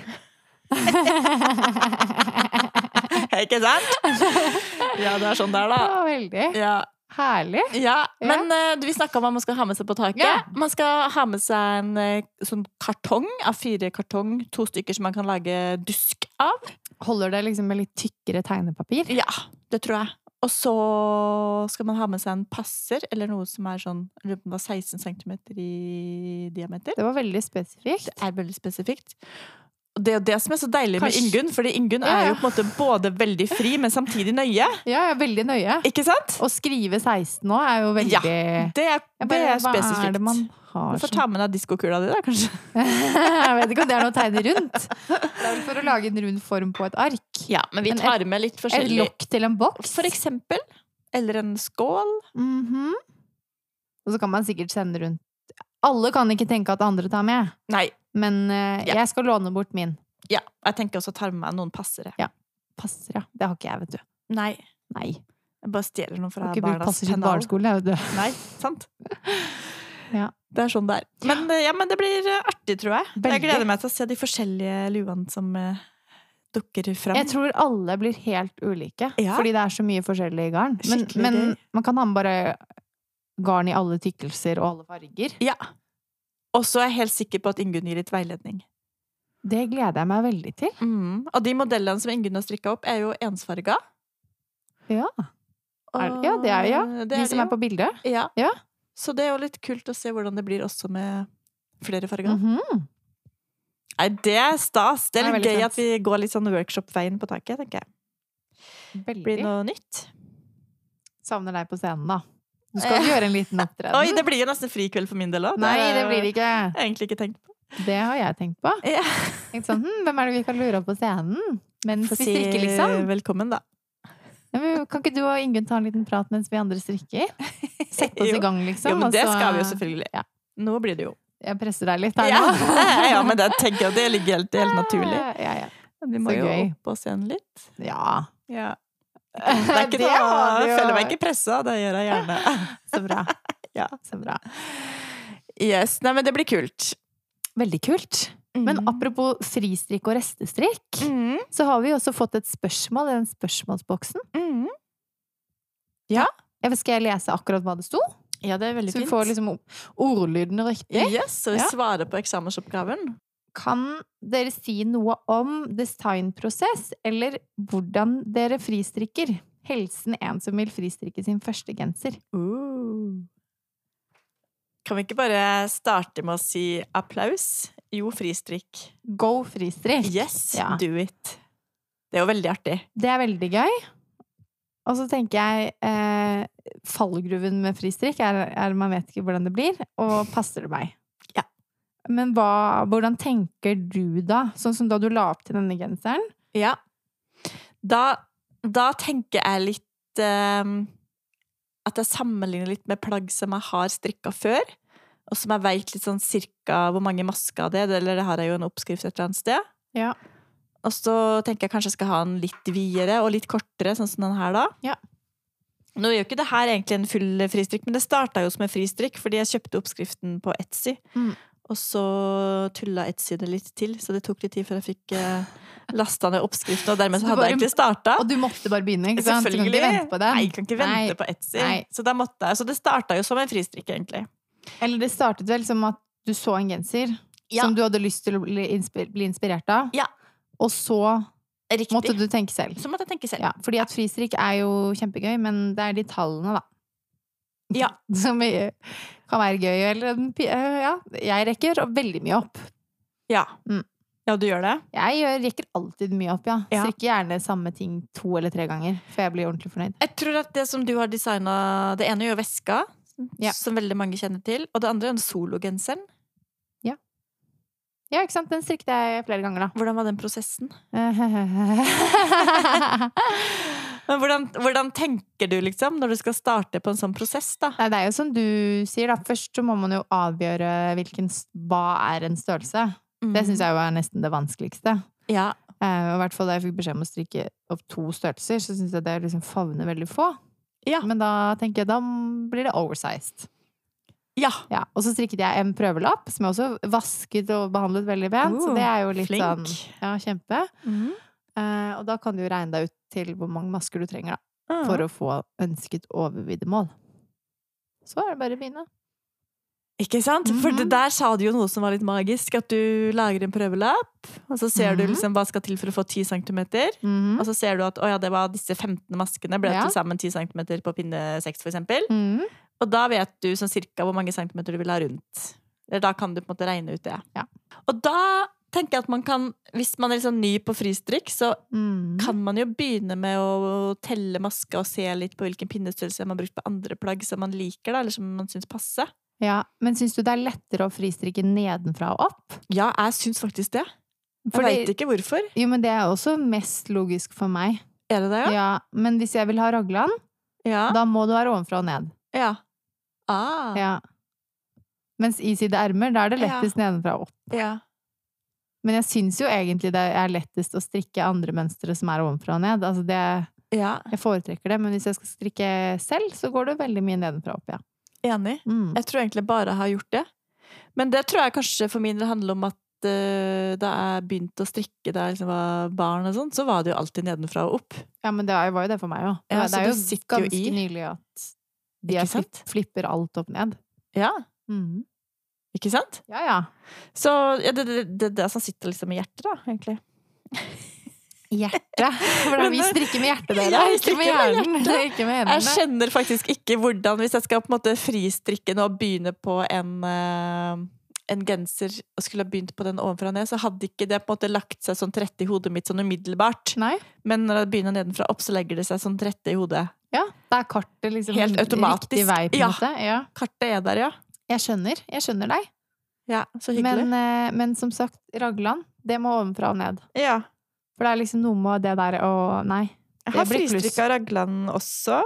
[SPEAKER 1] positivt?
[SPEAKER 2] Ikke sant? Ja, det er sånn det er, da.
[SPEAKER 1] Ja, veldig.
[SPEAKER 2] Ja.
[SPEAKER 1] Herlig.
[SPEAKER 2] ja.
[SPEAKER 1] Ja.
[SPEAKER 2] Men eh, vi snakka om hva man skal ha med seg på taket.
[SPEAKER 1] Ja.
[SPEAKER 2] Man skal ha med seg en eh, sånn kartong av fire kartong, to stykker som man kan lage dusk av.
[SPEAKER 1] Holder det liksom med litt tykkere tegnepapir?
[SPEAKER 2] Ja, det tror jeg. Og så skal man ha med seg en passer, eller noe som er sånn jeg lurer på om det var 16 cm i diameter.
[SPEAKER 1] Det var veldig spesifikt.
[SPEAKER 2] Det er veldig spesifikt. Og det er jo det som er så deilig med
[SPEAKER 1] Kanskje-
[SPEAKER 2] Ingunn, fordi Ingunn
[SPEAKER 1] Ja,
[SPEAKER 2] er
[SPEAKER 1] ja.
[SPEAKER 2] jo på en måte både veldig fri, men samtidig nøye.
[SPEAKER 1] Ja, jeg er veldig nøye.
[SPEAKER 2] Ikke sant?
[SPEAKER 1] Å skrive 16 nå er jo veldig
[SPEAKER 2] Ja, Det er,
[SPEAKER 1] Jeg
[SPEAKER 2] det
[SPEAKER 1] bare,
[SPEAKER 2] er spesifikt.
[SPEAKER 1] Hva er det man har
[SPEAKER 2] Du får
[SPEAKER 1] som
[SPEAKER 2] ta med deg diskokula di, da, kanskje.
[SPEAKER 1] Jeg vet ikke om det er noe å tegne rundt. Det er vel for å lage en rund form på et ark.
[SPEAKER 2] Ja, men vi
[SPEAKER 1] Men et-
[SPEAKER 2] tar med litt
[SPEAKER 1] Et
[SPEAKER 2] forskjellig
[SPEAKER 1] lokk til en boks.
[SPEAKER 2] For eksempel. Eller en skål.
[SPEAKER 1] Mhm. Og så kan man sikkert sende rundt Alle kan ikke tenke at andre tar med,
[SPEAKER 2] Nei,
[SPEAKER 1] men eh,
[SPEAKER 2] Ja.
[SPEAKER 1] jeg skal låne bort min.
[SPEAKER 2] ja. Jeg tenker også å ta med meg noen passere.
[SPEAKER 1] Passer, ja. Det har ikke jeg, vet du.
[SPEAKER 2] Nei.
[SPEAKER 1] Nei. Jeg
[SPEAKER 2] Jeg bare stjeler noen fra
[SPEAKER 1] har ikke brukt
[SPEAKER 2] barnas
[SPEAKER 1] passer siden
[SPEAKER 2] pennal.
[SPEAKER 1] barneskolen, jeg, vet du.
[SPEAKER 2] Nei, sant?
[SPEAKER 1] Ja.
[SPEAKER 2] Det er sånn det er. Men, eh, ja, men det blir eh, artig, tror jeg.
[SPEAKER 1] Veldig.
[SPEAKER 2] Jeg gleder meg til å se de forskjellige luene som eh, dukker fram.
[SPEAKER 1] Jeg tror alle blir helt ulike,
[SPEAKER 2] Ja.
[SPEAKER 1] fordi det er så mye forskjellig garn. Men,
[SPEAKER 2] Skikkelig
[SPEAKER 1] men
[SPEAKER 2] gøy.
[SPEAKER 1] man kan ha med bare garn i alle tykkelser og alle farger.
[SPEAKER 2] Ja. Og så er jeg helt sikker på at Ingunn gir litt veiledning.
[SPEAKER 1] Det gleder jeg meg veldig til.
[SPEAKER 2] Mm. Og de modellene som Ingunn har strikka opp, er jo ensfarga.
[SPEAKER 1] Ja. Er- ja, det er- ja. De som er på bildet.
[SPEAKER 2] ja.
[SPEAKER 1] Ja.
[SPEAKER 2] Så det er jo litt kult å se hvordan det blir også med flere farger.
[SPEAKER 1] Mhm.
[SPEAKER 2] Nei, det er stas. Det er
[SPEAKER 1] Det er
[SPEAKER 2] litt
[SPEAKER 1] veldig
[SPEAKER 2] gøy at vi går litt sånn workshop-veien på taket, tenker jeg. Blir det
[SPEAKER 1] Veldig.
[SPEAKER 2] noe nytt?
[SPEAKER 1] Savner deg på scenen, da.
[SPEAKER 2] Eh.
[SPEAKER 1] Du skal jo gjøre en liten opptreden.
[SPEAKER 2] Oi, det blir jo nesten frikveld for min del òg.
[SPEAKER 1] Nei, det blir det ikke.
[SPEAKER 2] Jeg har egentlig ikke tenkt på.
[SPEAKER 1] Det har jeg tenkt på.
[SPEAKER 2] Ja.
[SPEAKER 1] Tenkt sånn, hm, hvem er det vi kan lure opp på scenen? Mens vi strikker, liksom.
[SPEAKER 2] velkommen, da.
[SPEAKER 1] Ja, men kan ikke du og Ingunn ta en liten prat mens vi andre strikker? Sette oss
[SPEAKER 2] Jo.
[SPEAKER 1] i gang, liksom.
[SPEAKER 2] jo, men det
[SPEAKER 1] og så-
[SPEAKER 2] skal vi jo selvfølgelig.
[SPEAKER 1] ja.
[SPEAKER 2] Nå blir det jo
[SPEAKER 1] Jeg presser deg litt her
[SPEAKER 2] ja,
[SPEAKER 1] nå.
[SPEAKER 2] ja, men det tenker jeg det ligger helt, helt naturlig.
[SPEAKER 1] Ja, ja.
[SPEAKER 2] Vi må
[SPEAKER 1] Så
[SPEAKER 2] jo
[SPEAKER 1] gøy.
[SPEAKER 2] opp på scenen litt.
[SPEAKER 1] ja.
[SPEAKER 2] Ja. Det er ikke
[SPEAKER 1] Det
[SPEAKER 2] noe,
[SPEAKER 1] har du
[SPEAKER 2] jeg
[SPEAKER 1] jo.
[SPEAKER 2] føler meg ikke pressa, det gjør jeg gjerne.
[SPEAKER 1] Så bra.
[SPEAKER 2] Ja.
[SPEAKER 1] Så bra.
[SPEAKER 2] Yes, nei, men det blir kult.
[SPEAKER 1] Veldig kult. Men apropos fristrikk og restestrikk,
[SPEAKER 2] Mm.
[SPEAKER 1] så har vi jo også fått et spørsmål i den spørsmålsboksen.
[SPEAKER 2] Mm.
[SPEAKER 1] Jeg vet, skal jeg lese akkurat hva det sto?
[SPEAKER 2] Ja, det er veldig
[SPEAKER 1] Så vi
[SPEAKER 2] fint.
[SPEAKER 1] får liksom ordlyden riktig.
[SPEAKER 2] Yes, så vi
[SPEAKER 1] Ja.
[SPEAKER 2] svarer på eksamensoppgaven.
[SPEAKER 1] Kan dere si noe om designprosess, eller hvordan dere fristrikker? Helsen en som vil fristrikke sin første genser.
[SPEAKER 2] Uh. Kan vi ikke bare starte med å si applaus? Jo, fristrikk.
[SPEAKER 1] Go fristrikk!
[SPEAKER 2] Yes,
[SPEAKER 1] Ja.
[SPEAKER 2] do it. Det er jo veldig artig.
[SPEAKER 1] Det er veldig gøy. Og så tenker jeg eh, fallgruven med fristrikk er, er man vet ikke hvordan det blir, og passer det meg?
[SPEAKER 2] Ja.
[SPEAKER 1] Men hva, hvordan tenker du da? Sånn som da du la opp til denne genseren.
[SPEAKER 2] Ja. Da, da tenker jeg litt ehm, At jeg sammenligner litt med plagg som jeg har strikka før. Og som jeg veit litt sånn cirka hvor mange masker det er. Eller det har jeg jo en oppskrift et eller annet sted.
[SPEAKER 1] Ja.
[SPEAKER 2] Og så tenker jeg kanskje jeg skal ha den litt videre og litt kortere, sånn som den her, da.
[SPEAKER 1] Ja.
[SPEAKER 2] Nå gjør ikke det her egentlig en full fristrikk, men det starta jo som en fristrikk fordi jeg kjøpte oppskriften på Etsy.
[SPEAKER 1] Mm.
[SPEAKER 2] Og så tulla Etsy det litt til, så det tok litt tid før jeg fikk eh, lasta ned oppskriften. Og dermed
[SPEAKER 1] Så
[SPEAKER 2] så
[SPEAKER 1] du
[SPEAKER 2] hadde
[SPEAKER 1] bare-
[SPEAKER 2] jeg egentlig starta.
[SPEAKER 1] Og du måtte bare begynne, ikke sant? Du kan
[SPEAKER 2] Selvfølgelig.
[SPEAKER 1] ikke vente på
[SPEAKER 2] Nei,
[SPEAKER 1] den.
[SPEAKER 2] jeg kan ikke vente
[SPEAKER 1] Nei.
[SPEAKER 2] på Etsy.
[SPEAKER 1] Nei.
[SPEAKER 2] Så, da måtte jeg, så det starta jo som en fristrikk, egentlig.
[SPEAKER 1] Eller det startet vel som at du så en genser
[SPEAKER 2] Ja.
[SPEAKER 1] som du hadde lyst til å bli, inspi- bli inspirert av,
[SPEAKER 2] Ja.
[SPEAKER 1] og så
[SPEAKER 2] Riktig.
[SPEAKER 1] måtte du tenke selv.
[SPEAKER 2] Så måtte jeg tenke selv.
[SPEAKER 1] Ja, fordi at fristrikk er jo kjempegøy, men det er de tallene, da.
[SPEAKER 2] Ja.
[SPEAKER 1] Som i- kan være gøy, eller en pi- eh, Ja, jeg rekker veldig mye opp.
[SPEAKER 2] Ja,
[SPEAKER 1] Mm.
[SPEAKER 2] ja du gjør det?
[SPEAKER 1] Jeg gjør- rekker alltid mye opp, ja.
[SPEAKER 2] Ja.
[SPEAKER 1] Strikker gjerne samme ting to eller tre ganger før jeg blir ordentlig fornøyd.
[SPEAKER 2] Jeg tror at det som du har designa Det ene er jo veska,
[SPEAKER 1] Ja.
[SPEAKER 2] som veldig mange kjenner til. Og det andre er den sologenseren.
[SPEAKER 1] Ja, ikke sant? Den strikket jeg flere ganger, da.
[SPEAKER 2] Hvordan var den prosessen? Men hvordan, hvordan tenker du, liksom, når du skal starte på en sånn prosess, da?
[SPEAKER 1] Nei, det er jo som du sier, da. Først så må man jo avgjøre hvilken s- Hva er en størrelse? Det syns jeg jo er nesten det vanskeligste.
[SPEAKER 2] Mm. Ja.
[SPEAKER 1] Eh, og i hvert fall da jeg fikk beskjed om å strikke opp to størrelser, så syns jeg det liksom favner veldig få.
[SPEAKER 2] Ja.
[SPEAKER 1] Men da tenker jeg, da blir det oversized.
[SPEAKER 2] ja.
[SPEAKER 1] Ja. Og så strikket jeg en prøvelapp, som jeg også vasket og behandlet veldig pent. så
[SPEAKER 2] Oh,
[SPEAKER 1] det er jo litt
[SPEAKER 2] Flink. Mm.
[SPEAKER 1] sånn Ja, kjempe. Eh, og da kan du jo regne deg ut til hvor mange masker du trenger da,
[SPEAKER 2] Ah.
[SPEAKER 1] for å få ønsket overviddemål. Så er det bare å begynne.
[SPEAKER 2] Ikke sant? For
[SPEAKER 1] Mhm.
[SPEAKER 2] det der sa du jo noe som var litt magisk. At du lager en prøvelapp, og så ser du
[SPEAKER 1] Mhm.
[SPEAKER 2] liksom hva skal til for å få 10 centimeter.
[SPEAKER 1] Mhm.
[SPEAKER 2] Og så ser du at å ja, det var disse 15 maskene ble
[SPEAKER 1] Ja.
[SPEAKER 2] til sammen 10 centimeter på pinne 6, for eksempel.
[SPEAKER 1] Mhm.
[SPEAKER 2] Og da vet du sånn cirka hvor mange centimeter du vil ha rundt. Eller da kan du på en måte regne ut det.
[SPEAKER 1] Ja.
[SPEAKER 2] Og da tenker jeg at man kan, hvis man er litt sånn ny på fristrikk, så
[SPEAKER 1] Mhm.
[SPEAKER 2] kan man jo begynne med å telle maska og se litt på hvilken pinnestørrelse man har brukt på andre plagg som man liker, da, eller som man syns passer.
[SPEAKER 1] Ja, men syns du det er lettere å fristrikke nedenfra og opp?
[SPEAKER 2] Ja, jeg syns faktisk det. Jeg
[SPEAKER 1] Fordi-
[SPEAKER 2] veit ikke hvorfor.
[SPEAKER 1] Jo, men det er også mest logisk for meg.
[SPEAKER 2] Er det det,
[SPEAKER 1] Ja, men hvis jeg vil ha raglan,
[SPEAKER 2] ja?
[SPEAKER 1] da må du være ovenfra og ned.
[SPEAKER 2] Ja. ja. Ah.
[SPEAKER 1] Ja. Mens iside ermer, da er det lettest nedenfra og opp.
[SPEAKER 2] ja.
[SPEAKER 1] Men jeg syns jo egentlig det er lettest å strikke andre mønstre som er ovenfra og ned. Altså det,
[SPEAKER 2] Ja.
[SPEAKER 1] jeg foretrekker det, men hvis jeg skal strikke selv, så går det veldig mye nedenfra og opp, ja.
[SPEAKER 2] Enig.
[SPEAKER 1] Mm.
[SPEAKER 2] Jeg tror egentlig bare jeg har gjort det. Men det tror jeg kanskje for min del handler om at eh, da jeg begynte å strikke da jeg liksom var barn, og sånn, så var det jo alltid nedenfra og opp.
[SPEAKER 1] Ja, men det er- var jo det for meg òg.
[SPEAKER 2] Ja,
[SPEAKER 1] det
[SPEAKER 2] så
[SPEAKER 1] er jo
[SPEAKER 2] det sitter jo
[SPEAKER 1] ganske
[SPEAKER 2] i.
[SPEAKER 1] nylig at de er
[SPEAKER 2] Ikke
[SPEAKER 1] flipp,
[SPEAKER 2] sant?
[SPEAKER 1] flipper alt opp ned.
[SPEAKER 2] Ja,
[SPEAKER 1] Mm.
[SPEAKER 2] ikke sant?
[SPEAKER 1] Ja ja.
[SPEAKER 2] Så ja, det er det, det, det som sitter liksom i hjertet, da, egentlig.
[SPEAKER 1] Hjertet. Hvordan vi strikker med hjertet, dere.
[SPEAKER 2] Ja, vi
[SPEAKER 1] Ikke med
[SPEAKER 2] strikker med
[SPEAKER 1] hjernen. Ikke med
[SPEAKER 2] Jeg
[SPEAKER 1] hendene.
[SPEAKER 2] kjenner faktisk ikke hvordan, hvis jeg skal på en måte fristrikke nå og begynne på en eh, en genser og skulle ha begynt på den ovenfra og ned, så hadde ikke det på en måte lagt seg sånn trett i hodet mitt sånn umiddelbart.
[SPEAKER 1] Nei.
[SPEAKER 2] Men når jeg begynner nedenfra opp, så legger det seg sånn trett i hodet.
[SPEAKER 1] Ja, da er kartet liksom
[SPEAKER 2] Helt automatisk.
[SPEAKER 1] riktig vei, på en
[SPEAKER 2] Ja.
[SPEAKER 1] måte. Ja.
[SPEAKER 2] Kartet er der, ja.
[SPEAKER 1] Jeg skjønner. Jeg skjønner deg.
[SPEAKER 2] Ja, så hyggelig.
[SPEAKER 1] Men, eh, men som sagt, raglan, det må ovenfra og ned.
[SPEAKER 2] ja.
[SPEAKER 1] For det er liksom noe med det der å Nei.
[SPEAKER 2] Jeg
[SPEAKER 1] det
[SPEAKER 2] har
[SPEAKER 1] blir kluss.
[SPEAKER 2] fristrikka raglan også.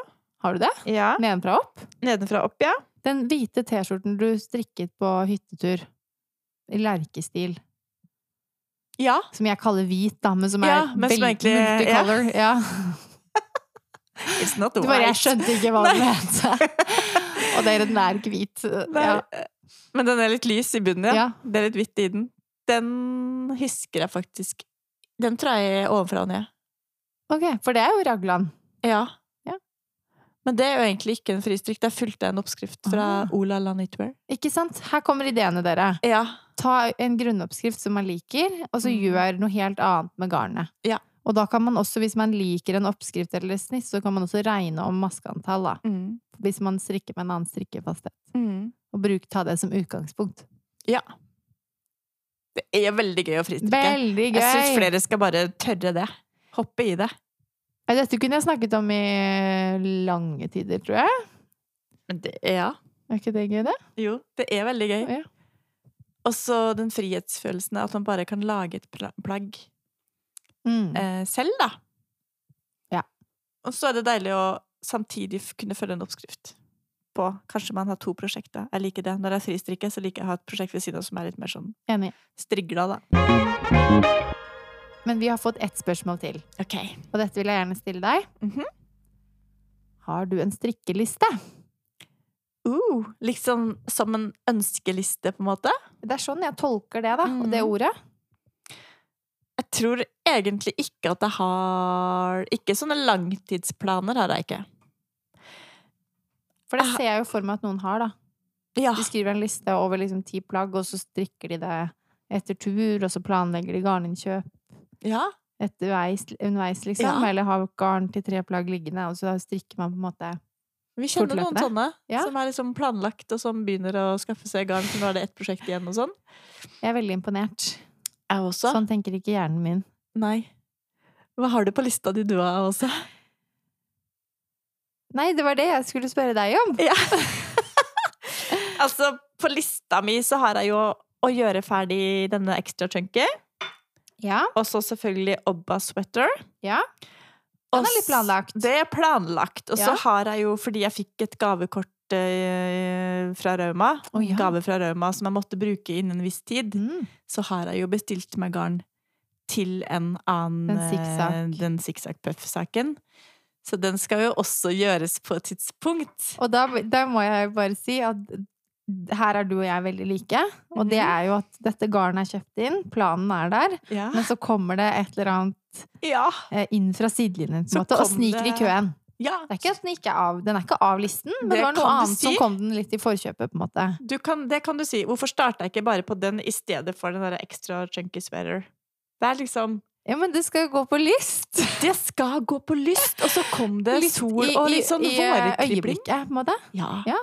[SPEAKER 1] Har du det?
[SPEAKER 2] Ja.
[SPEAKER 1] Nedenfra og opp?
[SPEAKER 2] Nedenfra og opp, ja.
[SPEAKER 1] Den hvite T-skjorten du strikket på hyttetur. I lerkestil.
[SPEAKER 2] Ja.
[SPEAKER 1] Som jeg kaller hvit, da, men som er
[SPEAKER 2] Ja, men som
[SPEAKER 1] veldig
[SPEAKER 2] egentlig- ja.
[SPEAKER 1] multicolor. Ja.
[SPEAKER 2] It's not
[SPEAKER 1] Du bare
[SPEAKER 2] white.
[SPEAKER 1] Jeg skjønte ikke hva den het. Og det er den er ikke hvit.
[SPEAKER 2] Nei.
[SPEAKER 1] Ja.
[SPEAKER 2] Men den er litt lys i bunnen, ja.
[SPEAKER 1] Ja.
[SPEAKER 2] Det er litt hvitt i den. Den husker jeg faktisk. Den tror jeg er ovenfra og ned.
[SPEAKER 1] Ok, for det er jo raglan.
[SPEAKER 2] Ja.
[SPEAKER 1] Ja.
[SPEAKER 2] Men det er jo egentlig ikke en fristrikk. Der fulgte jeg en oppskrift fra
[SPEAKER 1] Ah.
[SPEAKER 2] Ola La Knitwear.
[SPEAKER 1] Ikke sant? Her kommer ideene, dere.
[SPEAKER 2] Ja.
[SPEAKER 1] ta en grunnoppskrift som man liker, og så
[SPEAKER 2] Mm.
[SPEAKER 1] gjør noe helt annet med garnet.
[SPEAKER 2] Ja.
[SPEAKER 1] Og da kan man også, hvis man liker en oppskrift eller et snitt, så kan man også regne om maskeantall, da.
[SPEAKER 2] Mm.
[SPEAKER 1] Hvis man strikker med en annen strikkefasthet.
[SPEAKER 2] Mm.
[SPEAKER 1] Og bruk, ta det som utgangspunkt.
[SPEAKER 2] Det er veldig gøy å fristrikke.
[SPEAKER 1] Veldig gøy!
[SPEAKER 2] Jeg syns flere skal bare tørre det. Hoppe i det.
[SPEAKER 1] Ja, Dette kunne jeg snakket om i lange tider, tror jeg.
[SPEAKER 2] Men det ja.
[SPEAKER 1] Er ikke det gøy, det?
[SPEAKER 2] Jo, det er veldig gøy.
[SPEAKER 1] Ja.
[SPEAKER 2] Og så den frihetsfølelsen av at man bare kan lage et pla- plagg
[SPEAKER 1] Mm.
[SPEAKER 2] eh, selv, da.
[SPEAKER 1] Ja.
[SPEAKER 2] Og så er det deilig å samtidig f- kunne følge en oppskrift på Kanskje man har to prosjekter. Jeg liker det. Når jeg fristrikker, så liker jeg å ha et prosjekt ved siden av som er litt mer sånn
[SPEAKER 1] Enig.
[SPEAKER 2] strigla, da.
[SPEAKER 1] Men vi har fått ett spørsmål til,
[SPEAKER 2] Ok.
[SPEAKER 1] og dette vil jeg gjerne stille deg.
[SPEAKER 2] Mhm.
[SPEAKER 1] Har du en strikkeliste?
[SPEAKER 2] Uh, liksom som en ønskeliste, på en måte.
[SPEAKER 1] Det er sånn jeg tolker det, da, og det
[SPEAKER 2] Mhm.
[SPEAKER 1] ordet.
[SPEAKER 2] Jeg tror egentlig ikke at jeg har Ikke sånne langtidsplaner har jeg ikke.
[SPEAKER 1] For det
[SPEAKER 2] Jeg har-
[SPEAKER 1] ser jeg jo for meg at noen har, da.
[SPEAKER 2] Ja.
[SPEAKER 1] De skriver en liste over liksom ti plagg, og så strikker de det etter tur, og så planlegger de garninnkjøp
[SPEAKER 2] ja.
[SPEAKER 1] etterveis, underveis, liksom.
[SPEAKER 2] Ja.
[SPEAKER 1] Eller har garn til tre plagg liggende, og så strikker man på en måte
[SPEAKER 2] Vi kjenner noen
[SPEAKER 1] Fortløpende.
[SPEAKER 2] sånne
[SPEAKER 1] Ja.
[SPEAKER 2] som er liksom planlagt, og som begynner å skaffe seg garn, for nå er det ett prosjekt igjen og sånn.
[SPEAKER 1] Jeg er veldig imponert.
[SPEAKER 2] Jeg også.
[SPEAKER 1] Sånn tenker ikke hjernen min.
[SPEAKER 2] Nei. Hva har du på lista di du har også?
[SPEAKER 1] Nei, det var det jeg skulle spørre deg om!
[SPEAKER 2] Ja. altså, på lista mi så har jeg jo å gjøre ferdig denne ekstra chunky,
[SPEAKER 1] Ja.
[SPEAKER 2] og så selvfølgelig Obba sweater.
[SPEAKER 1] Ja. Den er litt planlagt.
[SPEAKER 2] Det er planlagt. Og så
[SPEAKER 1] Ja.
[SPEAKER 2] har jeg jo, fordi jeg fikk et gavekort eh, fra Rauma,
[SPEAKER 1] Å, ja.
[SPEAKER 2] gave fra Rauma som jeg måtte bruke innen en viss tid,
[SPEAKER 1] Mm.
[SPEAKER 2] så har jeg jo bestilt meg garn til en annen
[SPEAKER 1] Den zigzag.
[SPEAKER 2] eh, Den zigzag-puff-saken. Så den skal jo også gjøres på et tidspunkt.
[SPEAKER 1] Og da, da må jeg bare si at her er du og jeg veldig like, og det
[SPEAKER 2] Mhm.
[SPEAKER 1] er jo at dette garnet er kjøpt inn, planen er der,
[SPEAKER 2] Ja.
[SPEAKER 1] men så kommer det et eller annet
[SPEAKER 2] ja.
[SPEAKER 1] eh, inn fra sidelinjen på
[SPEAKER 2] Så
[SPEAKER 1] en måte, og
[SPEAKER 2] kom
[SPEAKER 1] sniker i
[SPEAKER 2] det-
[SPEAKER 1] køen.
[SPEAKER 2] ja.
[SPEAKER 1] Det er ikke at den ikke er av, den er ikke av listen, men det,
[SPEAKER 2] Det
[SPEAKER 1] var noe
[SPEAKER 2] kan du
[SPEAKER 1] annet som
[SPEAKER 2] si.
[SPEAKER 1] kom den litt i forkjøpet, på en måte.
[SPEAKER 2] Du kan, det kan du si. Hvorfor starta jeg ikke bare på den i stedet for den der ekstra chunky sweater? Det er liksom
[SPEAKER 1] Ja, men det skal jo gå på lyst!
[SPEAKER 2] Det skal gå på lyst! Og så kom det
[SPEAKER 1] Lyst
[SPEAKER 2] sol
[SPEAKER 1] i-
[SPEAKER 2] og
[SPEAKER 1] i-
[SPEAKER 2] litt sånn
[SPEAKER 1] i, eh,
[SPEAKER 2] vårkribling.
[SPEAKER 1] øyeblikket, på en måte.
[SPEAKER 2] Ja.
[SPEAKER 1] Ja.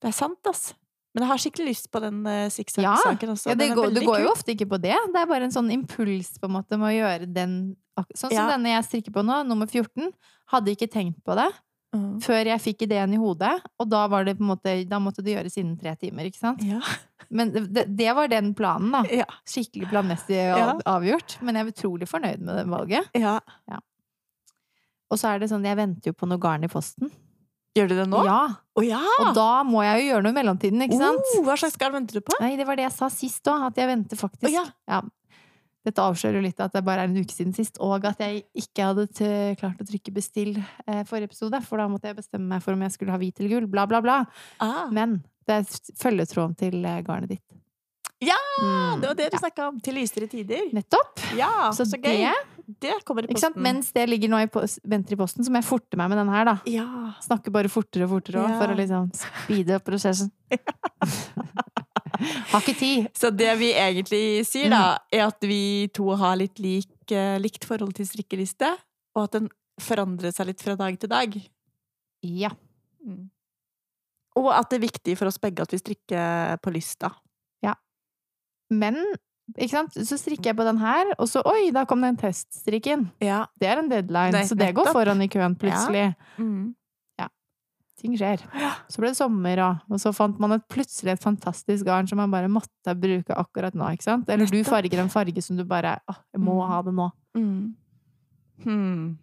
[SPEAKER 2] Det er sant, ass. Men jeg har skikkelig lyst på den eh,
[SPEAKER 1] Ja.
[SPEAKER 2] zigzag-saken også.
[SPEAKER 1] Ja, det,
[SPEAKER 2] Den er
[SPEAKER 1] går, det
[SPEAKER 2] veldig
[SPEAKER 1] går
[SPEAKER 2] kul.
[SPEAKER 1] jo ofte ikke på det. Det er bare en sånn impuls, på en måte, med å gjøre den ak- Sånn som
[SPEAKER 2] Ja.
[SPEAKER 1] denne jeg strikker på nå, nummer 14. Hadde ikke tenkt på det
[SPEAKER 2] Mm.
[SPEAKER 1] før jeg fikk ideen i hodet, og da var det på en måte Da måtte det gjøres innen tre timer, ikke sant?
[SPEAKER 2] Ja.
[SPEAKER 1] Men det- det, det var den planen, da.
[SPEAKER 2] Ja.
[SPEAKER 1] Skikkelig planmessig
[SPEAKER 2] Ja.
[SPEAKER 1] av- avgjort. Men jeg er utrolig fornøyd med det valget.
[SPEAKER 2] ja.
[SPEAKER 1] Og så er det sånn, jeg venter jo på noe garn i posten.
[SPEAKER 2] Gjør du det nå?
[SPEAKER 1] Ja,
[SPEAKER 2] Å ja!
[SPEAKER 1] og da må jeg jo gjøre noe i mellomtiden, ikke sant?
[SPEAKER 2] Oh, hva slags garn venter du på?
[SPEAKER 1] Nei, det var det jeg sa sist òg, at jeg venter faktisk.
[SPEAKER 2] Å ja.
[SPEAKER 1] Dette avslører jo litt at det bare er en uke siden sist, og at jeg ikke hadde t klart å trykke bestill eh, forrige episode, for da måtte jeg bestemme meg for om jeg skulle ha hvit eller gull, bla, bla, bla.
[SPEAKER 2] Ah,
[SPEAKER 1] Men det er s- følgetråden til eh, garnet ditt.
[SPEAKER 2] Ja,
[SPEAKER 1] Mm,
[SPEAKER 2] det var det du
[SPEAKER 1] ja.
[SPEAKER 2] snakka om. Til lysere tider.
[SPEAKER 1] Nettopp!
[SPEAKER 2] Ja, så,
[SPEAKER 1] Så,
[SPEAKER 2] gøy.
[SPEAKER 1] det,
[SPEAKER 2] Det kommer i
[SPEAKER 1] ikke
[SPEAKER 2] posten.
[SPEAKER 1] sant? mens det ligger nå i pos- venter i posten, så må jeg forte meg med den her, da.
[SPEAKER 2] Ja.
[SPEAKER 1] Snakker bare fortere og fortere også,
[SPEAKER 2] Ja.
[SPEAKER 1] for å liksom speede opp prosessen. Har ikke tid.
[SPEAKER 2] Så det vi egentlig sier,
[SPEAKER 1] Mm.
[SPEAKER 2] da, er at vi to har litt lik, eh, likt forhold til strikkeliste, og at den forandrer seg litt fra dag til dag. Mm.
[SPEAKER 1] Ja.
[SPEAKER 2] Og at det er viktig for oss begge at vi strikker på lysta.
[SPEAKER 1] Men ikke sant? så strikker jeg på den her, og så oi, da kom den teststrikken.
[SPEAKER 2] Ja.
[SPEAKER 1] Det er en deadline,
[SPEAKER 2] Nei,
[SPEAKER 1] så det går
[SPEAKER 2] nettopp.
[SPEAKER 1] foran i køen plutselig.
[SPEAKER 2] Mm.
[SPEAKER 1] ting skjer. Så ble det sommer, og, og så fant man et, plutselig et fantastisk garn som man bare måtte bruke akkurat nå, ikke sant? Eller du
[SPEAKER 2] Nettopp.
[SPEAKER 1] farger en farge som du bare Å, jeg må
[SPEAKER 2] Mm.
[SPEAKER 1] ha det nå.
[SPEAKER 2] Mm. Hmm.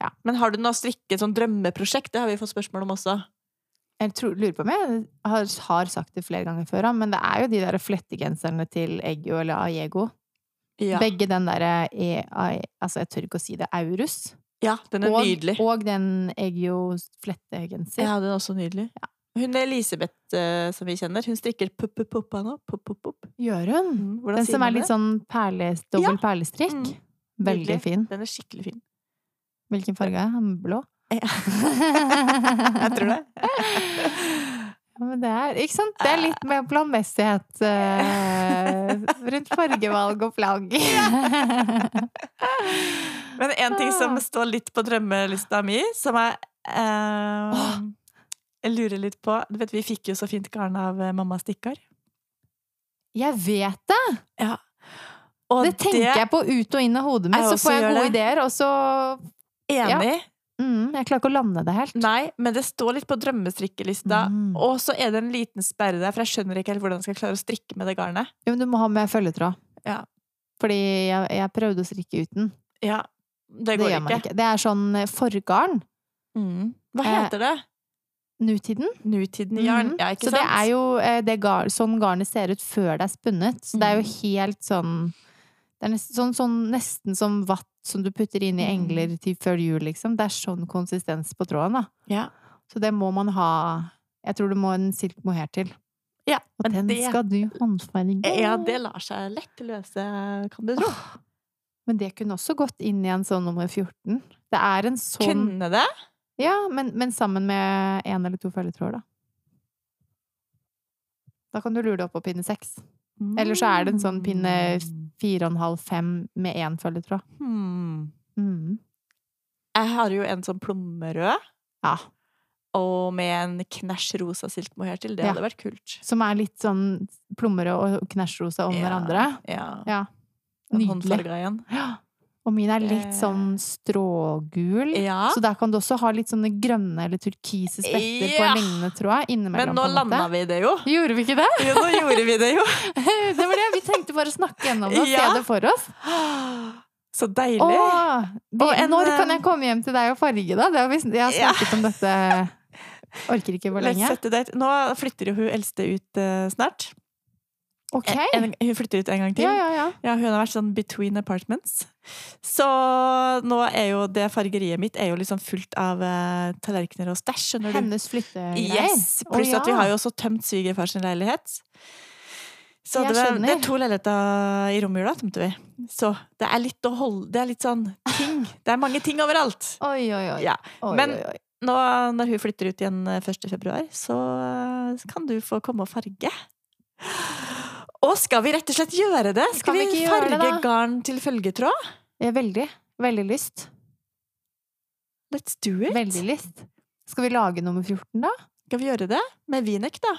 [SPEAKER 1] Ja.
[SPEAKER 2] Men har du noe strikket sånn drømmeprosjekt? Det har vi fått spørsmål om også.
[SPEAKER 1] Jeg tror, lurer på om jeg har, har sagt det flere ganger før, ja, men det er jo de der flettegenserne til Eggio eller Aiego.
[SPEAKER 2] Ja,
[SPEAKER 1] Begge den derre e, Ai- Altså, jeg tør ikke å si det. Aurus.
[SPEAKER 2] ja den er
[SPEAKER 1] Og,
[SPEAKER 2] nydelig.
[SPEAKER 1] og den Eggio flettegenser.
[SPEAKER 2] Ja, den er også nydelig. Hun Elisabeth, eh, som vi kjenner, hun strikker pupp-pupp-puppa nå. Pupp-pupp-pupp.
[SPEAKER 1] Gjør hun?
[SPEAKER 2] Mm. Hvordan
[SPEAKER 1] Den
[SPEAKER 2] sier
[SPEAKER 1] som
[SPEAKER 2] man
[SPEAKER 1] er litt
[SPEAKER 2] det?
[SPEAKER 1] sånn perle, dobbel perlestrikk.
[SPEAKER 2] Mm.
[SPEAKER 1] Veldig
[SPEAKER 2] Nydelig.
[SPEAKER 1] fin.
[SPEAKER 2] Den er skikkelig fin.
[SPEAKER 1] Hvilken farge er den? Blå?
[SPEAKER 2] Ja.
[SPEAKER 1] jeg
[SPEAKER 2] Jeg tror det.
[SPEAKER 1] Ja, men det er, ikke sant? Det er litt mer planmessighet eh, rundt fargevalg og plagg.
[SPEAKER 2] Men en ting som
[SPEAKER 1] Ah.
[SPEAKER 2] står litt på drømmelista mi, som jeg eh,
[SPEAKER 1] Åh.
[SPEAKER 2] Jeg lurer litt på Du vet, vi fikk jo så fint garn av eh, mamma stikkar.
[SPEAKER 1] Jeg vet det!
[SPEAKER 2] Og
[SPEAKER 1] Det tenker jeg på ut og inn av hodet mitt,
[SPEAKER 2] Jeg
[SPEAKER 1] så
[SPEAKER 2] også
[SPEAKER 1] får jeg
[SPEAKER 2] gjør
[SPEAKER 1] gode
[SPEAKER 2] det.
[SPEAKER 1] ideer, og så ja.
[SPEAKER 2] Enig.
[SPEAKER 1] mm, Jeg klarer ikke å lande det helt.
[SPEAKER 2] Nei, men det står litt på drømmestrikkelista.
[SPEAKER 1] Mm.
[SPEAKER 2] Og så er det en liten sperre der, for jeg skjønner ikke helt hvordan jeg skal klare å strikke med det garnet.
[SPEAKER 1] Jo, men du må ha med følgetråd.
[SPEAKER 2] Ja.
[SPEAKER 1] Fordi jeg, jeg prøvde å strikke uten.
[SPEAKER 2] Ja, Det
[SPEAKER 1] Det,
[SPEAKER 2] går
[SPEAKER 1] gjør man
[SPEAKER 2] ikke.
[SPEAKER 1] ikke. Det er sånn eh, forgarn.
[SPEAKER 2] Mm. Hva
[SPEAKER 1] Eh,
[SPEAKER 2] heter det?
[SPEAKER 1] Nutiden.
[SPEAKER 2] Nutiden i jarn?
[SPEAKER 1] Mhm.
[SPEAKER 2] Ja, ikke
[SPEAKER 1] så det
[SPEAKER 2] sant?
[SPEAKER 1] er jo eh, det gar, sånn garnet ser ut før det er spunnet. Så det er
[SPEAKER 2] Mm.
[SPEAKER 1] jo helt sånn Det er nesten, sånn, sånn, nesten som vatt som du putter inn i
[SPEAKER 2] Mm.
[SPEAKER 1] engler til før jul, liksom. Det er sånn konsistens på tråden, da.
[SPEAKER 2] Ja.
[SPEAKER 1] Så det må man ha Jeg tror det må en silk mohair til.
[SPEAKER 2] Ja,
[SPEAKER 1] Og
[SPEAKER 2] men
[SPEAKER 1] den
[SPEAKER 2] det-
[SPEAKER 1] skal du håndfarge.
[SPEAKER 2] ja, det lar seg lett løse, kan du tro.
[SPEAKER 1] Men det kunne også gått inn i en sånn nummer 14. Det er en sånn
[SPEAKER 2] Kunne det?
[SPEAKER 1] Ja, men, men sammen med én eller to følgetråder, da. Da kan du lure deg opp på pinne seks. Eller så er det en sånn pinne- Fire og en halv, fem med én følgetråd.
[SPEAKER 2] Hmm.
[SPEAKER 1] Mm.
[SPEAKER 2] Jeg har jo en sånn plommerød,
[SPEAKER 1] Ja.
[SPEAKER 2] og med en knæsj rosa silkmohair til. Det
[SPEAKER 1] Ja.
[SPEAKER 2] hadde vært kult.
[SPEAKER 1] Som er litt sånn plommerød og knæsjrosa om
[SPEAKER 2] Ja,
[SPEAKER 1] hverandre.
[SPEAKER 2] Ja.
[SPEAKER 1] Ja.
[SPEAKER 2] Den
[SPEAKER 1] Nydelig.
[SPEAKER 2] håndfarga igjen.
[SPEAKER 1] Ja. Og min er litt
[SPEAKER 2] Eh.
[SPEAKER 1] sånn strågul.
[SPEAKER 2] Ja.
[SPEAKER 1] Så der kan du også ha litt sånne grønne eller turkise spetter på
[SPEAKER 2] Ja.
[SPEAKER 1] en lignende tråd innimellom.
[SPEAKER 2] Men nå
[SPEAKER 1] på en måte.
[SPEAKER 2] landa vi det jo.
[SPEAKER 1] Gjorde vi ikke det?
[SPEAKER 2] Jo, nå gjorde vi det jo.
[SPEAKER 1] Det var det vi tenkte bare å snakke gjennom det og
[SPEAKER 2] Ja.
[SPEAKER 1] se det for oss.
[SPEAKER 2] Så deilig.
[SPEAKER 1] Åh, vi,
[SPEAKER 2] Og en,
[SPEAKER 1] når kan
[SPEAKER 2] eh,
[SPEAKER 1] jeg komme hjem til deg og farge, da? Det har vi, sn- jeg har
[SPEAKER 2] Ja.
[SPEAKER 1] snakket om dette Orker ikke hvor
[SPEAKER 2] Let's
[SPEAKER 1] lenge.
[SPEAKER 2] set the date. Nå flytter jo hun eldste ut eh, snart.
[SPEAKER 1] Ok.
[SPEAKER 2] En, hun flytter ut en gang til.
[SPEAKER 1] Ja, ja, ja.
[SPEAKER 2] Ja, hun har vært sånn between apartments. Så nå er jo det fargeriet mitt er jo liksom fullt av eh, tallerkener og stæsj, skjønner du.
[SPEAKER 1] Hennes flyttegreier.
[SPEAKER 2] Yes!
[SPEAKER 1] Å,
[SPEAKER 2] Pluss at vi
[SPEAKER 1] ja.
[SPEAKER 2] har jo også tømt svigerfar sin leilighet. Så
[SPEAKER 1] Jeg
[SPEAKER 2] det, var, det
[SPEAKER 1] skjønner.
[SPEAKER 2] er to leiligheter i romjula, tømte vi. Så det er litt å holde Det er litt sånn ting. Det er mange ting overalt.
[SPEAKER 1] Oi, oi, oi.
[SPEAKER 2] Ja.
[SPEAKER 1] oi,
[SPEAKER 2] men-
[SPEAKER 1] oi, oi.
[SPEAKER 2] Nå når hun flytter ut igjen eh, 1. februar, så eh, kan du få komme og farge. Og skal vi rett og slett gjøre det? Skal
[SPEAKER 1] Kan vi
[SPEAKER 2] vi,
[SPEAKER 1] ikke gjøre det,
[SPEAKER 2] farge
[SPEAKER 1] da?
[SPEAKER 2] garn til følgetråd?
[SPEAKER 1] Jeg har veldig, veldig lyst.
[SPEAKER 2] Let's do it!
[SPEAKER 1] Veldig lyst. Skal vi lage nummer 14, da?
[SPEAKER 2] Skal vi gjøre det? Med vinek, da.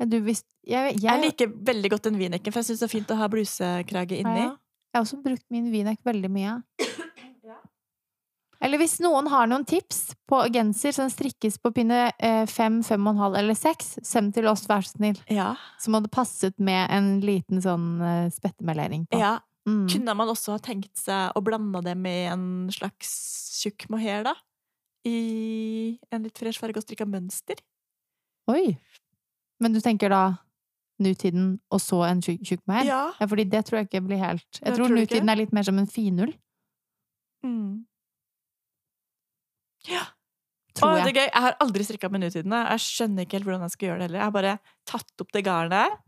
[SPEAKER 1] Men Du, hvis Jeg, jeg,
[SPEAKER 2] Jeg liker veldig godt den vineken, for jeg syns det er fint å ha blusekrage
[SPEAKER 1] Ja,
[SPEAKER 2] inni.
[SPEAKER 1] ja. jeg har også brukt min vinek veldig mye. Eller hvis noen har noen tips på genser som strikkes på pinne eh, 5, 5,5 eller 6, send til oss, vær så snill.
[SPEAKER 2] Ja.
[SPEAKER 1] Som hadde passet med en liten sånn eh, spettemelering på.
[SPEAKER 2] ja.
[SPEAKER 1] Mm.
[SPEAKER 2] Kunne man også ha tenkt seg å blande det med en slags tjukk mohair, da? I en litt fresh farge og strikka mønster?
[SPEAKER 1] Oi! Men du tenker da nutiden, og så en tjukk tjukk med her?
[SPEAKER 2] Ja.
[SPEAKER 1] Ja, fordi det tror jeg ikke blir helt Jeg
[SPEAKER 2] Det
[SPEAKER 1] tror
[SPEAKER 2] tror du ikke?
[SPEAKER 1] nutiden er litt mer som en finull,
[SPEAKER 2] Mm.
[SPEAKER 1] tror
[SPEAKER 2] Å,
[SPEAKER 1] jeg.
[SPEAKER 2] det er gøy. Jeg har aldri strikka med nutiden. Jeg Jeg skjønner ikke helt hvordan jeg skal gjøre det heller. Jeg har bare tatt opp det garnet,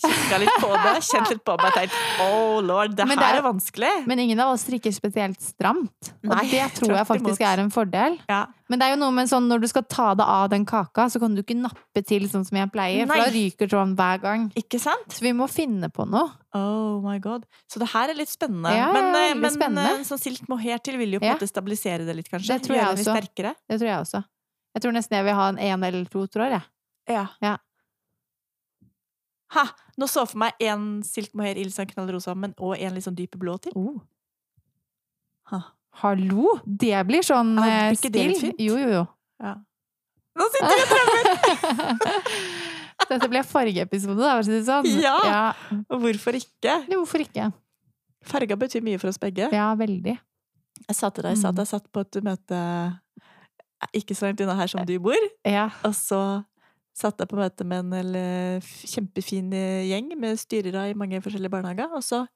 [SPEAKER 2] kikka litt på det, kjent litt på meg og tenkt oh lord, det
[SPEAKER 1] Men det
[SPEAKER 2] her
[SPEAKER 1] er-
[SPEAKER 2] er vanskelig.
[SPEAKER 1] Men ingen av oss strikker spesielt stramt, og
[SPEAKER 2] Nei,
[SPEAKER 1] det tror jeg
[SPEAKER 2] tvert
[SPEAKER 1] faktisk
[SPEAKER 2] imot.
[SPEAKER 1] er en fordel.
[SPEAKER 2] Ja.
[SPEAKER 1] Men det er jo noe med sånn når du skal ta deg av den kaka, så kan du ikke nappe til sånn som jeg pleier, for
[SPEAKER 2] Nei.
[SPEAKER 1] da ryker tråden hver gang.
[SPEAKER 2] Ikke sant?
[SPEAKER 1] Så vi må finne på noe.
[SPEAKER 2] Oh my god. Så det her er litt spennende.
[SPEAKER 1] Ja, ja,
[SPEAKER 2] men eh,
[SPEAKER 1] veldig
[SPEAKER 2] men
[SPEAKER 1] spennende.
[SPEAKER 2] eh, sånn silk mohair til vil jo på en
[SPEAKER 1] Ja.
[SPEAKER 2] måte stabilisere det litt, kanskje.
[SPEAKER 1] Det tror jeg
[SPEAKER 2] Gjøre det litt
[SPEAKER 1] også.
[SPEAKER 2] sterkere.
[SPEAKER 1] Det tror jeg også. Jeg tror nesten jeg vil ha en én eller to tråder, jeg.
[SPEAKER 2] Ja.
[SPEAKER 1] Ja.
[SPEAKER 2] Ha! Nå så for meg én silk mohair i litt sånn knallrosa, men og en litt sånn dyp blå til.
[SPEAKER 1] Oh.
[SPEAKER 2] Ha.
[SPEAKER 1] Hallo! Det blir sånn
[SPEAKER 2] Ja,
[SPEAKER 1] eh,
[SPEAKER 2] blir ikke det
[SPEAKER 1] stil.
[SPEAKER 2] litt fint?
[SPEAKER 1] eh, Jo, jo, jo.
[SPEAKER 2] Ja. Nå sitter jeg
[SPEAKER 1] Dette ble forrige episode, da, for å si det sånn.
[SPEAKER 2] Ja. og Hvorfor ikke?
[SPEAKER 1] Eller hvorfor ikke?
[SPEAKER 2] Farga betyr mye for oss begge.
[SPEAKER 1] Ja, Mm. veldig.
[SPEAKER 2] Jeg sa til deg i stad at jeg satt på et møte eh, ikke så langt unna her som du bor,
[SPEAKER 1] Ja.
[SPEAKER 2] og så satt jeg på møte med en eller, f- kjempefin eh, gjeng med styrere i mange forskjellige barnehager, og så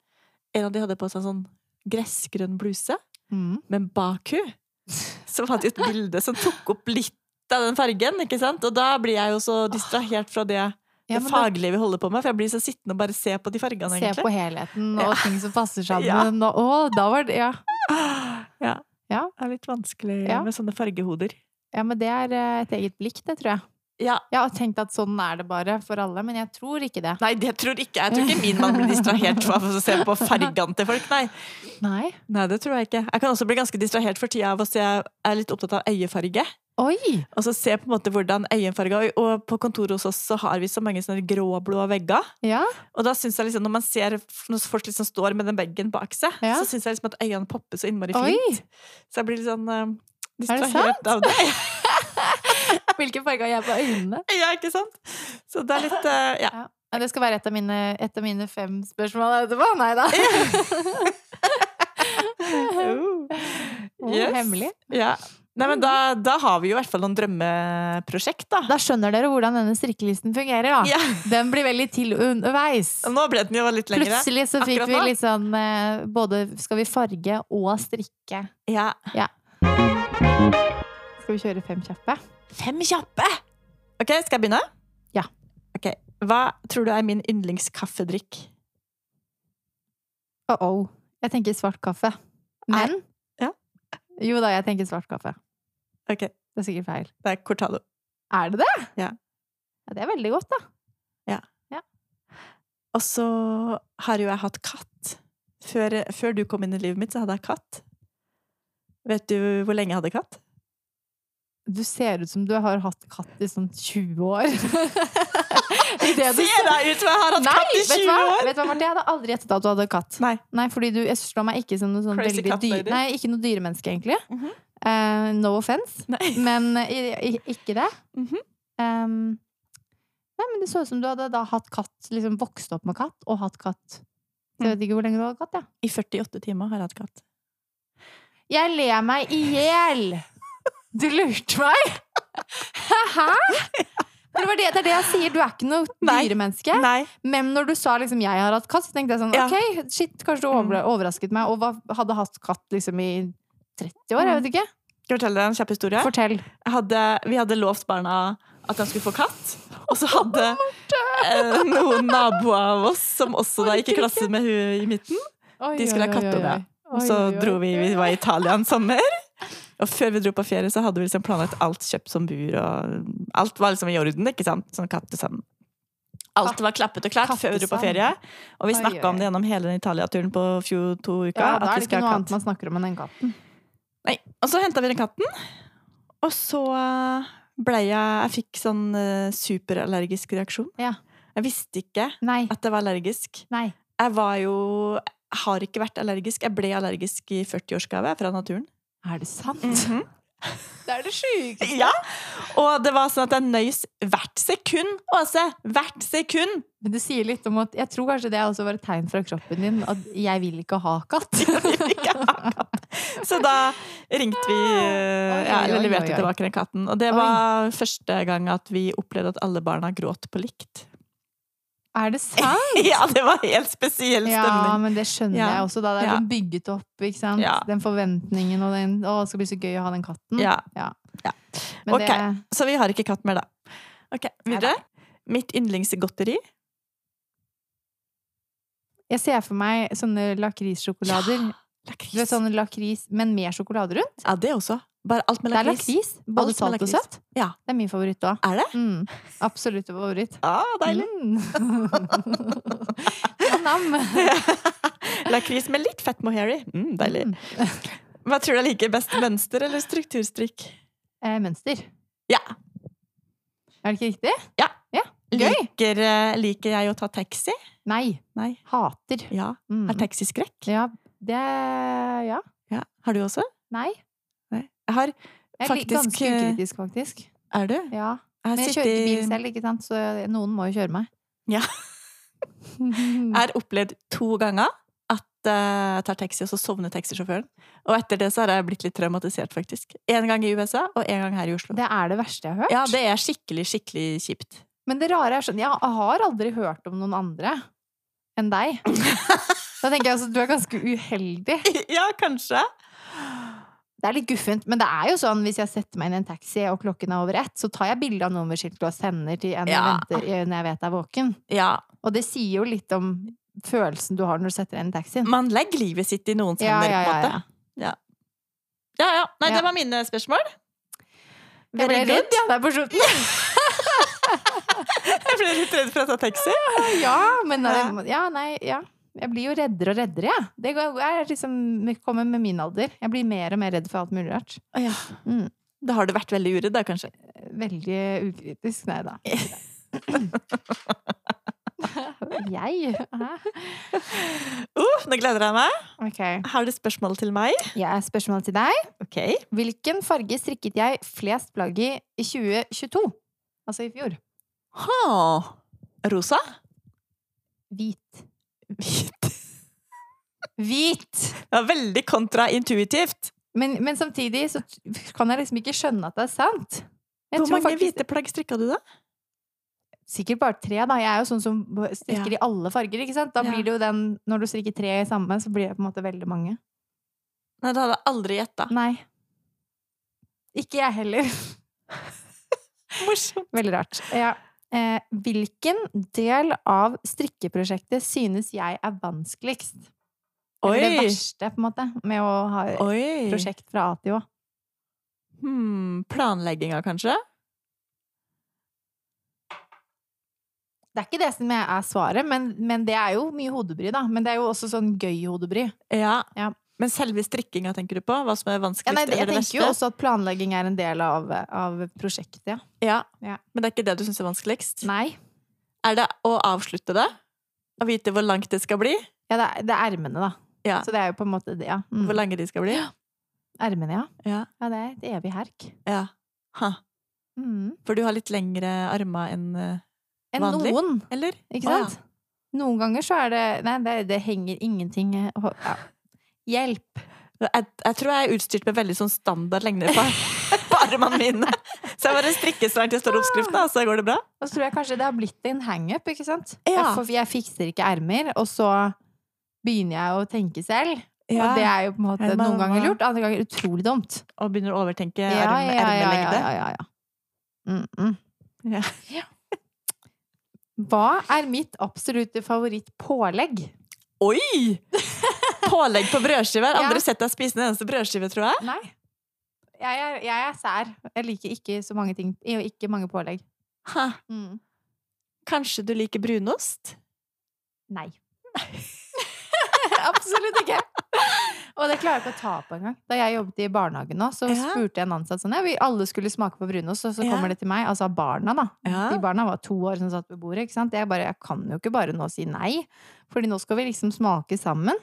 [SPEAKER 2] en av de hadde på seg en sånn gressgrønn bluse,
[SPEAKER 1] Mm.
[SPEAKER 2] men bak hun så fant jeg et bilde som tok opp litt av den fargen, ikke sant? Og da blir jeg jo så distrahert fra det,
[SPEAKER 1] Ja,
[SPEAKER 2] det
[SPEAKER 1] men da-
[SPEAKER 2] faglige vi holder på med, for jeg blir så sittende og bare se på de fargene,
[SPEAKER 1] Se på
[SPEAKER 2] egentlig.
[SPEAKER 1] helheten og
[SPEAKER 2] Ja.
[SPEAKER 1] ting som passer
[SPEAKER 2] Ja.
[SPEAKER 1] sammen. Og, å, da var det, ja.
[SPEAKER 2] Ja.
[SPEAKER 1] Ja.
[SPEAKER 2] Det er litt vanskelig
[SPEAKER 1] Ja.
[SPEAKER 2] med sånne fargehoder.
[SPEAKER 1] ja, men det er eh, et eget blikk, det tror jeg.
[SPEAKER 2] Ja,
[SPEAKER 1] Jeg har tenkt at sånn er det bare for alle, men jeg tror ikke det.
[SPEAKER 2] Nei, det tror ikke jeg. Jeg tror ikke min mann blir distrahert av å se på fargene til folk, nei.
[SPEAKER 1] Nei.
[SPEAKER 2] Nei, det tror jeg ikke. Jeg kan også bli ganske distrahert for tida av å se Jeg er litt opptatt av øyefarge.
[SPEAKER 1] Oi!
[SPEAKER 2] Og så se på en måte hvordan øyenfarger Og og på kontoret hos oss så har vi så mange sånne gråblå vegger.
[SPEAKER 1] Ja.
[SPEAKER 2] Og da synes jeg liksom, når man ser f- når folk liksom står med den veggen bak seg,
[SPEAKER 1] Ja.
[SPEAKER 2] så syns jeg liksom at øynene popper så innmari
[SPEAKER 1] Oi.
[SPEAKER 2] fint. Så jeg blir litt sånn eh,
[SPEAKER 1] det
[SPEAKER 2] distrahert av det.
[SPEAKER 1] Hvilken farge har jeg på øynene?
[SPEAKER 2] Ja, ikke sant? Så det er litt eh, Ja.
[SPEAKER 1] Nei, det skal være et av mine, et av mine fem spørsmål etterpå. Nei da.
[SPEAKER 2] Oh.
[SPEAKER 1] Oh, hemmelig.
[SPEAKER 2] Ja. Nei, men da, da har vi jo i hvert fall noen drømmeprosjekt, da.
[SPEAKER 1] Da skjønner dere hvordan denne strikkelisten fungerer, da.
[SPEAKER 2] Ja.
[SPEAKER 1] Den blir veldig til underveis.
[SPEAKER 2] Nå ble den jo litt lengre.
[SPEAKER 1] Plutselig så fikk
[SPEAKER 2] Akkurat
[SPEAKER 1] vi
[SPEAKER 2] nå.
[SPEAKER 1] litt sånn eh, Både skal vi farge og strikke.
[SPEAKER 2] Ja.
[SPEAKER 1] Skal vi kjøre fem kjappe?
[SPEAKER 2] Fem kjappe! Ok, skal jeg begynne?
[SPEAKER 1] Ja.
[SPEAKER 2] Ok, Hva tror du er min yndlingskaffedrikk?
[SPEAKER 1] Oh oh. Jeg tenker svart kaffe. Men
[SPEAKER 2] Ja.
[SPEAKER 1] Jo da, jeg tenker svart kaffe.
[SPEAKER 2] Ok,
[SPEAKER 1] Det er sikkert feil.
[SPEAKER 2] det er cortado.
[SPEAKER 1] Er det det?
[SPEAKER 2] Ja.
[SPEAKER 1] ja det er veldig godt, da.
[SPEAKER 2] Og så har jo jeg hatt katt. Før, før du kom inn i livet mitt, så hadde jeg katt. Vet du hvor lenge jeg hadde katt?
[SPEAKER 1] Du ser ut som du har hatt katt i sånn 20 år. I det du
[SPEAKER 2] Ser jeg ut som jeg har hatt katt i
[SPEAKER 1] vet du
[SPEAKER 2] 20
[SPEAKER 1] hva?
[SPEAKER 2] år?!
[SPEAKER 1] Vet du hva, Marte? Jeg hadde aldri gjettet at du hadde katt.
[SPEAKER 2] Nei.
[SPEAKER 1] Nei, fordi du jeg slår meg ikke som noe sånn
[SPEAKER 2] Crazy
[SPEAKER 1] veldig
[SPEAKER 2] cat
[SPEAKER 1] dyr...
[SPEAKER 2] lady.
[SPEAKER 1] Nei, ikke noe dyremenneske, egentlig.
[SPEAKER 2] Mhm.
[SPEAKER 1] Eh, no offense, men eh, i- i- ikke det.
[SPEAKER 2] Mhm.
[SPEAKER 1] Em, nei, men det så ut som du hadde da hatt katt, liksom vokst opp med katt, og hatt katt. Så
[SPEAKER 2] Mm.
[SPEAKER 1] jeg vet ikke hvor lenge du hadde katt, ja.
[SPEAKER 2] I 48 timer har jeg hatt katt.
[SPEAKER 1] Jeg ler meg i hjel! Du lurte meg! Hæ? Men Det, var det, det er det jeg sier, du er ikke noe
[SPEAKER 2] Nei.
[SPEAKER 1] dyremenneske.
[SPEAKER 2] Nei.
[SPEAKER 1] Men når du sa liksom 'jeg har hatt katt', så tenkte jeg sånn
[SPEAKER 2] Ja. Mm.
[SPEAKER 1] ok, shit, kanskje du over, overrasket meg, og hva, hadde hatt katt liksom i 30
[SPEAKER 2] Mm.
[SPEAKER 1] år, jeg vet ikke.
[SPEAKER 2] Skal jeg fortelle deg en kjapp historie?
[SPEAKER 1] Fortell.
[SPEAKER 2] Jeg hadde, vi hadde lovt barna at de skulle få katt. Og så hadde eh, noen naboer av oss som også da gikk i klasse med hun i midten. De skulle ha kattunge. Og så dro vi, vi var i Italia en sommer. Og før vi dro på ferie, så hadde vi liksom planlagt alt kjøpt som bur. Og alt var liksom i orden, ikke sant? Sånn kattesand. Alt var klappet og klart før vi dro på ferie. Og vi
[SPEAKER 1] Oi,
[SPEAKER 2] snakka
[SPEAKER 1] oi,
[SPEAKER 2] om det gjennom hele den Italia-turen på fjo to uker.
[SPEAKER 1] Ja, da
[SPEAKER 2] at
[SPEAKER 1] er
[SPEAKER 2] vi
[SPEAKER 1] det ikke
[SPEAKER 2] skal
[SPEAKER 1] noe
[SPEAKER 2] ha
[SPEAKER 1] annet
[SPEAKER 2] katt.
[SPEAKER 1] man snakker om enn den katten.
[SPEAKER 2] Nei. Og så henta vi den katten, og så blei jeg Jeg fikk sånn eh, superallergisk reaksjon.
[SPEAKER 1] Ja.
[SPEAKER 2] Jeg visste ikke
[SPEAKER 1] Nei.
[SPEAKER 2] at jeg var allergisk.
[SPEAKER 1] Nei.
[SPEAKER 2] Jeg var jo jeg har ikke vært allergisk. Jeg ble allergisk i 40-årsgave fra naturen.
[SPEAKER 1] Er det sant? Det er det sjukeste.
[SPEAKER 2] Ja! Og det var sånn at jeg nøys hvert sekund, Åse! Hvert sekund!
[SPEAKER 1] Men det sier litt om at jeg tror kanskje det også var et tegn fra kroppen din at jeg vil ikke ha katt.
[SPEAKER 2] Ikke ha katt. Så da ringte vi
[SPEAKER 1] Ah,
[SPEAKER 2] eh,
[SPEAKER 1] Oi,
[SPEAKER 2] ja,
[SPEAKER 1] oi,
[SPEAKER 2] Eller
[SPEAKER 1] oi,
[SPEAKER 2] leverte
[SPEAKER 1] oi.
[SPEAKER 2] tilbake den katten. Og det var første gang at vi opplevde at alle barna gråt på likt.
[SPEAKER 1] Er det sant?
[SPEAKER 2] Ja, det var helt spesiell
[SPEAKER 1] Ja,
[SPEAKER 2] stemning.
[SPEAKER 1] men det skjønner
[SPEAKER 2] Ja.
[SPEAKER 1] jeg også. Da. Det er
[SPEAKER 2] Ja.
[SPEAKER 1] sånn bygget opp, ikke sant?
[SPEAKER 2] Ja.
[SPEAKER 1] Den forventningen og den 'Å, det skal bli så gøy å ha den katten'.
[SPEAKER 2] Ja.
[SPEAKER 1] Men
[SPEAKER 2] ok.
[SPEAKER 1] det
[SPEAKER 2] Så vi har ikke katt mer, da. Ok, Videre. Mitt yndlingsgodteri.
[SPEAKER 1] Jeg ser for meg sånne lakrissjokolader. Du vet
[SPEAKER 2] Lakris.
[SPEAKER 1] sånn lakris, men med sjokolade rundt.
[SPEAKER 2] Ja, det også. Bare alt med
[SPEAKER 1] Det er
[SPEAKER 2] lakris.
[SPEAKER 1] lakris. Både
[SPEAKER 2] Alt med
[SPEAKER 1] salt og
[SPEAKER 2] lakris.
[SPEAKER 1] søtt.
[SPEAKER 2] Ja.
[SPEAKER 1] Det er min favoritt òg.
[SPEAKER 2] Er det?
[SPEAKER 1] Mm. Absolutt favoritt.
[SPEAKER 2] Ah, deilig.
[SPEAKER 1] Mm. Nam.
[SPEAKER 2] Lakris med litt fett mohairy. Mm, deilig.
[SPEAKER 1] Mm.
[SPEAKER 2] Hva tror du jeg liker best? Mønster eller strukturstrikk?
[SPEAKER 1] Eh, mønster.
[SPEAKER 2] Ja.
[SPEAKER 1] Er det ikke riktig?
[SPEAKER 2] Ja.
[SPEAKER 1] Gøy!
[SPEAKER 2] Liker, eh, liker jeg å ta taxi?
[SPEAKER 1] Nei.
[SPEAKER 2] Nei.
[SPEAKER 1] Hater.
[SPEAKER 2] Ja.
[SPEAKER 1] Mm.
[SPEAKER 2] Har taxiskrekk?
[SPEAKER 1] Ja. Det Ja.
[SPEAKER 2] Ja. Har du også?
[SPEAKER 1] Nei.
[SPEAKER 2] Nei. Jeg har
[SPEAKER 1] Jeg er
[SPEAKER 2] faktisk
[SPEAKER 1] ganske ukritisk, faktisk.
[SPEAKER 2] Er du?
[SPEAKER 1] Ja.
[SPEAKER 2] Jeg
[SPEAKER 1] Men jeg kjører ikke bil selv, ikke sant? så noen må jo kjøre meg.
[SPEAKER 2] Ja. Jeg har opplevd to ganger at eh, jeg tar taxi, og så sovner taxisjåføren. Og etter det så har jeg blitt litt traumatisert, faktisk. En gang i USA, og en gang her i Oslo.
[SPEAKER 1] Det er det verste jeg har hørt.
[SPEAKER 2] Ja, det er skikkelig, skikkelig kjipt.
[SPEAKER 1] Men det rare er sånn Jeg har aldri hørt om noen andre enn deg. Da tenker jeg altså du er ganske uheldig.
[SPEAKER 2] ja, kanskje.
[SPEAKER 1] Det er litt guffent, men det er jo sånn hvis jeg setter meg inn i en taxi og klokken er over ett, så tar jeg bilde av nummerskiltet og sender til en
[SPEAKER 2] Ja.
[SPEAKER 1] jeg venter når jeg vet er våken.
[SPEAKER 2] Ja.
[SPEAKER 1] Og det sier jo litt om følelsen du har når du setter deg inn i taxien.
[SPEAKER 2] Man legger livet sitt i noens
[SPEAKER 1] Ja,
[SPEAKER 2] hender,
[SPEAKER 1] ja,
[SPEAKER 2] Mm, på en
[SPEAKER 1] ja,
[SPEAKER 2] måte. Ja, ja. Nei,
[SPEAKER 1] Ja.
[SPEAKER 2] det var mine spørsmål.
[SPEAKER 1] Jeg ble
[SPEAKER 2] Jeg ble
[SPEAKER 1] redd, jeg, der på slutten.
[SPEAKER 2] Jeg ble litt redd for å ta taxi.
[SPEAKER 1] Ja, men eh, ja, nei, ja. Jeg blir jo reddere og reddere, jeg. Det går- er liksom, kommer med min alder. Jeg blir mer og mer redd for alt mulig rart.
[SPEAKER 2] Å ja.
[SPEAKER 1] Mm.
[SPEAKER 2] Da har du vært veldig uredd, da, kanskje.
[SPEAKER 1] Veldig ukritisk. Nei da. Jeg? Hæ?
[SPEAKER 2] Uh, nå gleder jeg meg.
[SPEAKER 1] Ok.
[SPEAKER 2] Har du spørsmål til meg?
[SPEAKER 1] Jeg har spørsmål til deg.
[SPEAKER 2] Ok.
[SPEAKER 1] Hvilken farge strikket jeg flest plagg i i 2022? Altså i fjor.
[SPEAKER 2] Ha. Rosa?
[SPEAKER 1] Hvit.
[SPEAKER 2] Hvit.
[SPEAKER 1] Hvit!
[SPEAKER 2] Det var veldig kontraintuitivt.
[SPEAKER 1] Men, men samtidig så t- kan jeg liksom ikke skjønne at det er sant. Jeg
[SPEAKER 2] Hvor
[SPEAKER 1] tror
[SPEAKER 2] mange
[SPEAKER 1] faktisk-
[SPEAKER 2] hvite plagg strikka du, da?
[SPEAKER 1] Sikkert bare tre, da. Jeg er jo sånn som b- strikker i alle farger, ikke sant? Da
[SPEAKER 2] Ja.
[SPEAKER 1] blir det jo den Når du strikker tre i samme, så blir det på en måte veldig mange.
[SPEAKER 2] Nei, det hadde jeg aldri gjetta.
[SPEAKER 1] Nei. Ikke jeg heller.
[SPEAKER 2] Morsomt.
[SPEAKER 1] Veldig rart. Ja. Eh, hvilken del av strikkeprosjektet synes jeg er vanskeligst? Eller det
[SPEAKER 2] Oi!
[SPEAKER 1] verste, på en måte, med å ha et
[SPEAKER 2] Oi.
[SPEAKER 1] prosjekt fra A til Å.
[SPEAKER 2] Hmm, planlegginga, kanskje?
[SPEAKER 1] Det er ikke det som er svaret, men, men det er jo mye hodebry, da. Men det er jo også sånn gøy hodebry.
[SPEAKER 2] Ja.
[SPEAKER 1] Ja.
[SPEAKER 2] Men selve strikkinga, tenker du på? Hva som er vanskeligst
[SPEAKER 1] Ja, nei, jeg
[SPEAKER 2] eller det
[SPEAKER 1] tenker jo
[SPEAKER 2] verste?
[SPEAKER 1] også at planlegging er en del av, av prosjektet, ja.
[SPEAKER 2] Ja.
[SPEAKER 1] Ja.
[SPEAKER 2] Men det er ikke det du syns er vanskeligst?
[SPEAKER 1] Nei.
[SPEAKER 2] Er det å avslutte det? Å vite hvor langt det skal bli?
[SPEAKER 1] Ja, det er, det er ermene, da.
[SPEAKER 2] Ja.
[SPEAKER 1] Så det er jo på en måte det, ja. Mm.
[SPEAKER 2] Hvor lange de skal bli?
[SPEAKER 1] Ermene, ja.
[SPEAKER 2] Ja.
[SPEAKER 1] Ja, det er et evig herk.
[SPEAKER 2] ja. Ha.
[SPEAKER 1] Mm.
[SPEAKER 2] For du har litt lengre armer enn eh,
[SPEAKER 1] Enn
[SPEAKER 2] Vanlig.
[SPEAKER 1] noen.
[SPEAKER 2] Eller?
[SPEAKER 1] Ikke
[SPEAKER 2] Å, ja.
[SPEAKER 1] sant? Noen ganger så er det Nei, det, det henger ingenting eh, ho- ja. Hjelp!
[SPEAKER 2] Jeg, jeg tror jeg er utstyrt med veldig sånn standard lengde på, på armene mine. Så jeg bare strikker så langt jeg står oppskriften, og så går det bra.
[SPEAKER 1] Og så tror jeg kanskje det har blitt en hangup, ikke sant? Jeg,
[SPEAKER 2] Ja.
[SPEAKER 1] får, jeg fikser ikke ermer, og så begynner jeg å tenke selv. Og det er jo på en måte
[SPEAKER 2] Er det
[SPEAKER 1] noen
[SPEAKER 2] mamma?
[SPEAKER 1] ganger lurt, andre ganger utrolig dumt.
[SPEAKER 2] Og begynner å overtenke
[SPEAKER 1] Ja, erm- ja, ja.
[SPEAKER 2] erme-
[SPEAKER 1] ja,
[SPEAKER 2] ermelengde.
[SPEAKER 1] ja, ja, ja. Mm -mm.
[SPEAKER 2] Ja.
[SPEAKER 1] Ja. Hva er mitt absolutte favorittpålegg?
[SPEAKER 2] Oi! Pålegg på brødskiver.
[SPEAKER 1] Ja.
[SPEAKER 2] Aldri sett deg spise en eneste brødskive, tror jeg.
[SPEAKER 1] Nei. Jeg er, jeg er sær. Jeg liker ikke så mange ting. Ikke mange pålegg.
[SPEAKER 2] Ha.
[SPEAKER 1] Mm.
[SPEAKER 2] Kanskje du liker brunost?
[SPEAKER 1] Nei. Absolutt ikke. Og det klarer jeg ikke å ta på engang. Da jeg jobbet i barnehagen nå, så
[SPEAKER 2] Ja.
[SPEAKER 1] spurte jeg en ansatt sånn ja, vi Alle skulle smake på brunost, og så
[SPEAKER 2] Ja.
[SPEAKER 1] kommer det til meg. Altså barna, da.
[SPEAKER 2] Ja.
[SPEAKER 1] De barna var to år som satt ved bordet. ikke sant? Jeg bare Jeg kan jo ikke bare nå si nei, Fordi nå skal vi liksom smake sammen.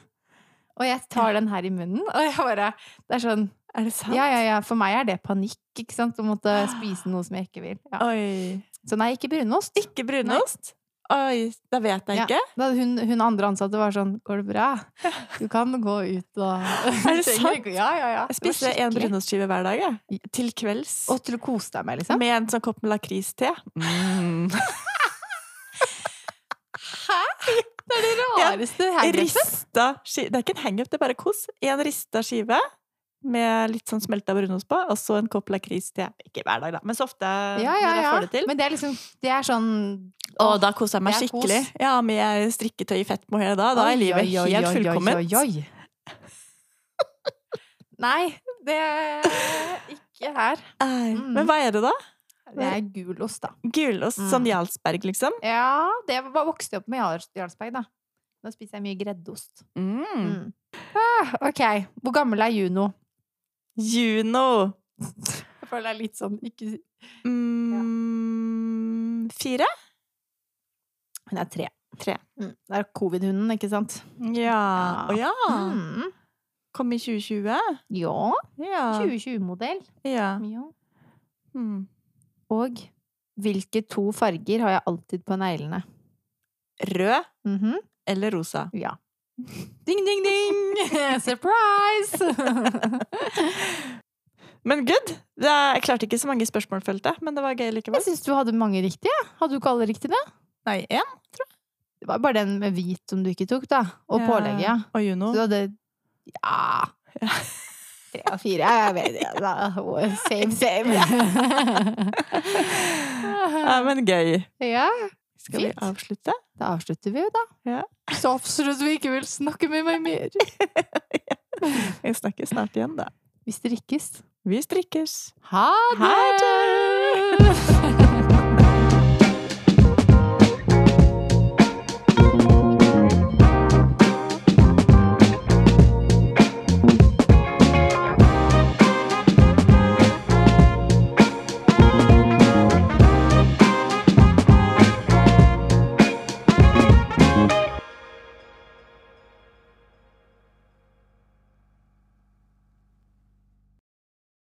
[SPEAKER 1] Og jeg tar den her i munnen, og jeg bare Det er sånn
[SPEAKER 2] Er det sant?
[SPEAKER 1] Ja, ja, ja. For meg er det panikk, ikke sant? Å måtte
[SPEAKER 2] Ah.
[SPEAKER 1] spise noe som jeg ikke vil. Ja.
[SPEAKER 2] Oi.
[SPEAKER 1] Så nei, ikke brunost.
[SPEAKER 2] Ah. Ikke brunost? Oi, da vet jeg
[SPEAKER 1] Ja.
[SPEAKER 2] ikke.
[SPEAKER 1] Da hun, hun andre ansatte var sånn 'Går det bra? Du kan gå ut og
[SPEAKER 2] Er det
[SPEAKER 1] Trenger
[SPEAKER 2] sant?
[SPEAKER 1] ikke- Ja, ja, ja. Det var
[SPEAKER 2] Jeg spiser en
[SPEAKER 1] skikkelig.
[SPEAKER 2] brunostskive hver dag, jeg. Til kvelds.
[SPEAKER 1] Og til å kose deg med, liksom.
[SPEAKER 2] Med en sånn kopp med lakris-te.
[SPEAKER 1] Mm. Det er det rareste hangupen.
[SPEAKER 2] Rista skive. Det er ikke en hangup, det er bare kos. En rista skive med litt sånn smelta brunost på, og så en kopp lakris-te. Ikke hver dag, da, men så ofte
[SPEAKER 1] Ja,
[SPEAKER 2] når jeg
[SPEAKER 1] ja,
[SPEAKER 2] får det
[SPEAKER 1] ja.
[SPEAKER 2] til.
[SPEAKER 1] Men det er liksom Det er sånn
[SPEAKER 2] og da koser jeg meg
[SPEAKER 1] det er kos.
[SPEAKER 2] skikkelig. Ja, Med strikketøy i fettmohair da. Da
[SPEAKER 1] Oi,
[SPEAKER 2] er livet
[SPEAKER 1] oi, oi,
[SPEAKER 2] helt
[SPEAKER 1] oi, oi,
[SPEAKER 2] fullkomment.
[SPEAKER 1] oi, oi. Nei, det er ikke her.
[SPEAKER 2] Nei.
[SPEAKER 1] Mm.
[SPEAKER 2] Men hva er det, da?
[SPEAKER 1] Det er gulost, da.
[SPEAKER 2] Gulost
[SPEAKER 1] Mm.
[SPEAKER 2] som Jarlsberg, liksom?
[SPEAKER 1] Ja, det var, vokste jeg opp med Jarls- Jarlsberg, da. Nå spiser jeg mye greddost.
[SPEAKER 2] Mm.
[SPEAKER 1] Mm. Ah, ok. Hvor gammel er Juno?
[SPEAKER 2] Juno.
[SPEAKER 1] Jeg føler det er litt sånn ikke...
[SPEAKER 2] Mm, Fire?
[SPEAKER 1] Hun er tre.
[SPEAKER 2] Tre.
[SPEAKER 1] Mm. Det er covid-hunden, ikke sant?
[SPEAKER 2] Ja. Å ja!
[SPEAKER 1] Mm.
[SPEAKER 2] Kom i 2020?
[SPEAKER 1] Ja.
[SPEAKER 2] Ja.
[SPEAKER 1] 2020-modell.
[SPEAKER 2] ja.
[SPEAKER 1] Ja.
[SPEAKER 2] Mm.
[SPEAKER 1] Og hvilke to farger har jeg alltid på neglene?
[SPEAKER 2] Rød
[SPEAKER 1] Mhm.
[SPEAKER 2] eller rosa?
[SPEAKER 1] Ja. Ding, ding, ding! Surprise!
[SPEAKER 2] Men good! Det er, jeg klarte ikke så mange spørsmål, følte jeg, men det var gøy
[SPEAKER 1] Jeg
[SPEAKER 2] likevel.
[SPEAKER 1] syns du hadde mange riktige. Hadde du ikke alle riktige?
[SPEAKER 2] Nei, én.
[SPEAKER 1] Det var bare den med hvit som du ikke tok, da. Og pålegget, ja.
[SPEAKER 2] Og
[SPEAKER 1] Så
[SPEAKER 2] Juno.
[SPEAKER 1] du hadde Ja. Tre av fire. Jeg vet ikke. da. oh, Same, same.
[SPEAKER 2] Ja, men gøy.
[SPEAKER 1] ja.
[SPEAKER 2] Skal vi
[SPEAKER 1] Fint.
[SPEAKER 2] avslutte?
[SPEAKER 1] Da avslutter vi jo, da.
[SPEAKER 2] Ja.
[SPEAKER 1] Så absolutt vi ikke vil snakke med meg mer.
[SPEAKER 2] Vi snakkes snart igjen, da.
[SPEAKER 1] Vi strikkes.
[SPEAKER 2] Vi strikkes.
[SPEAKER 1] Ha det!
[SPEAKER 2] Ha det!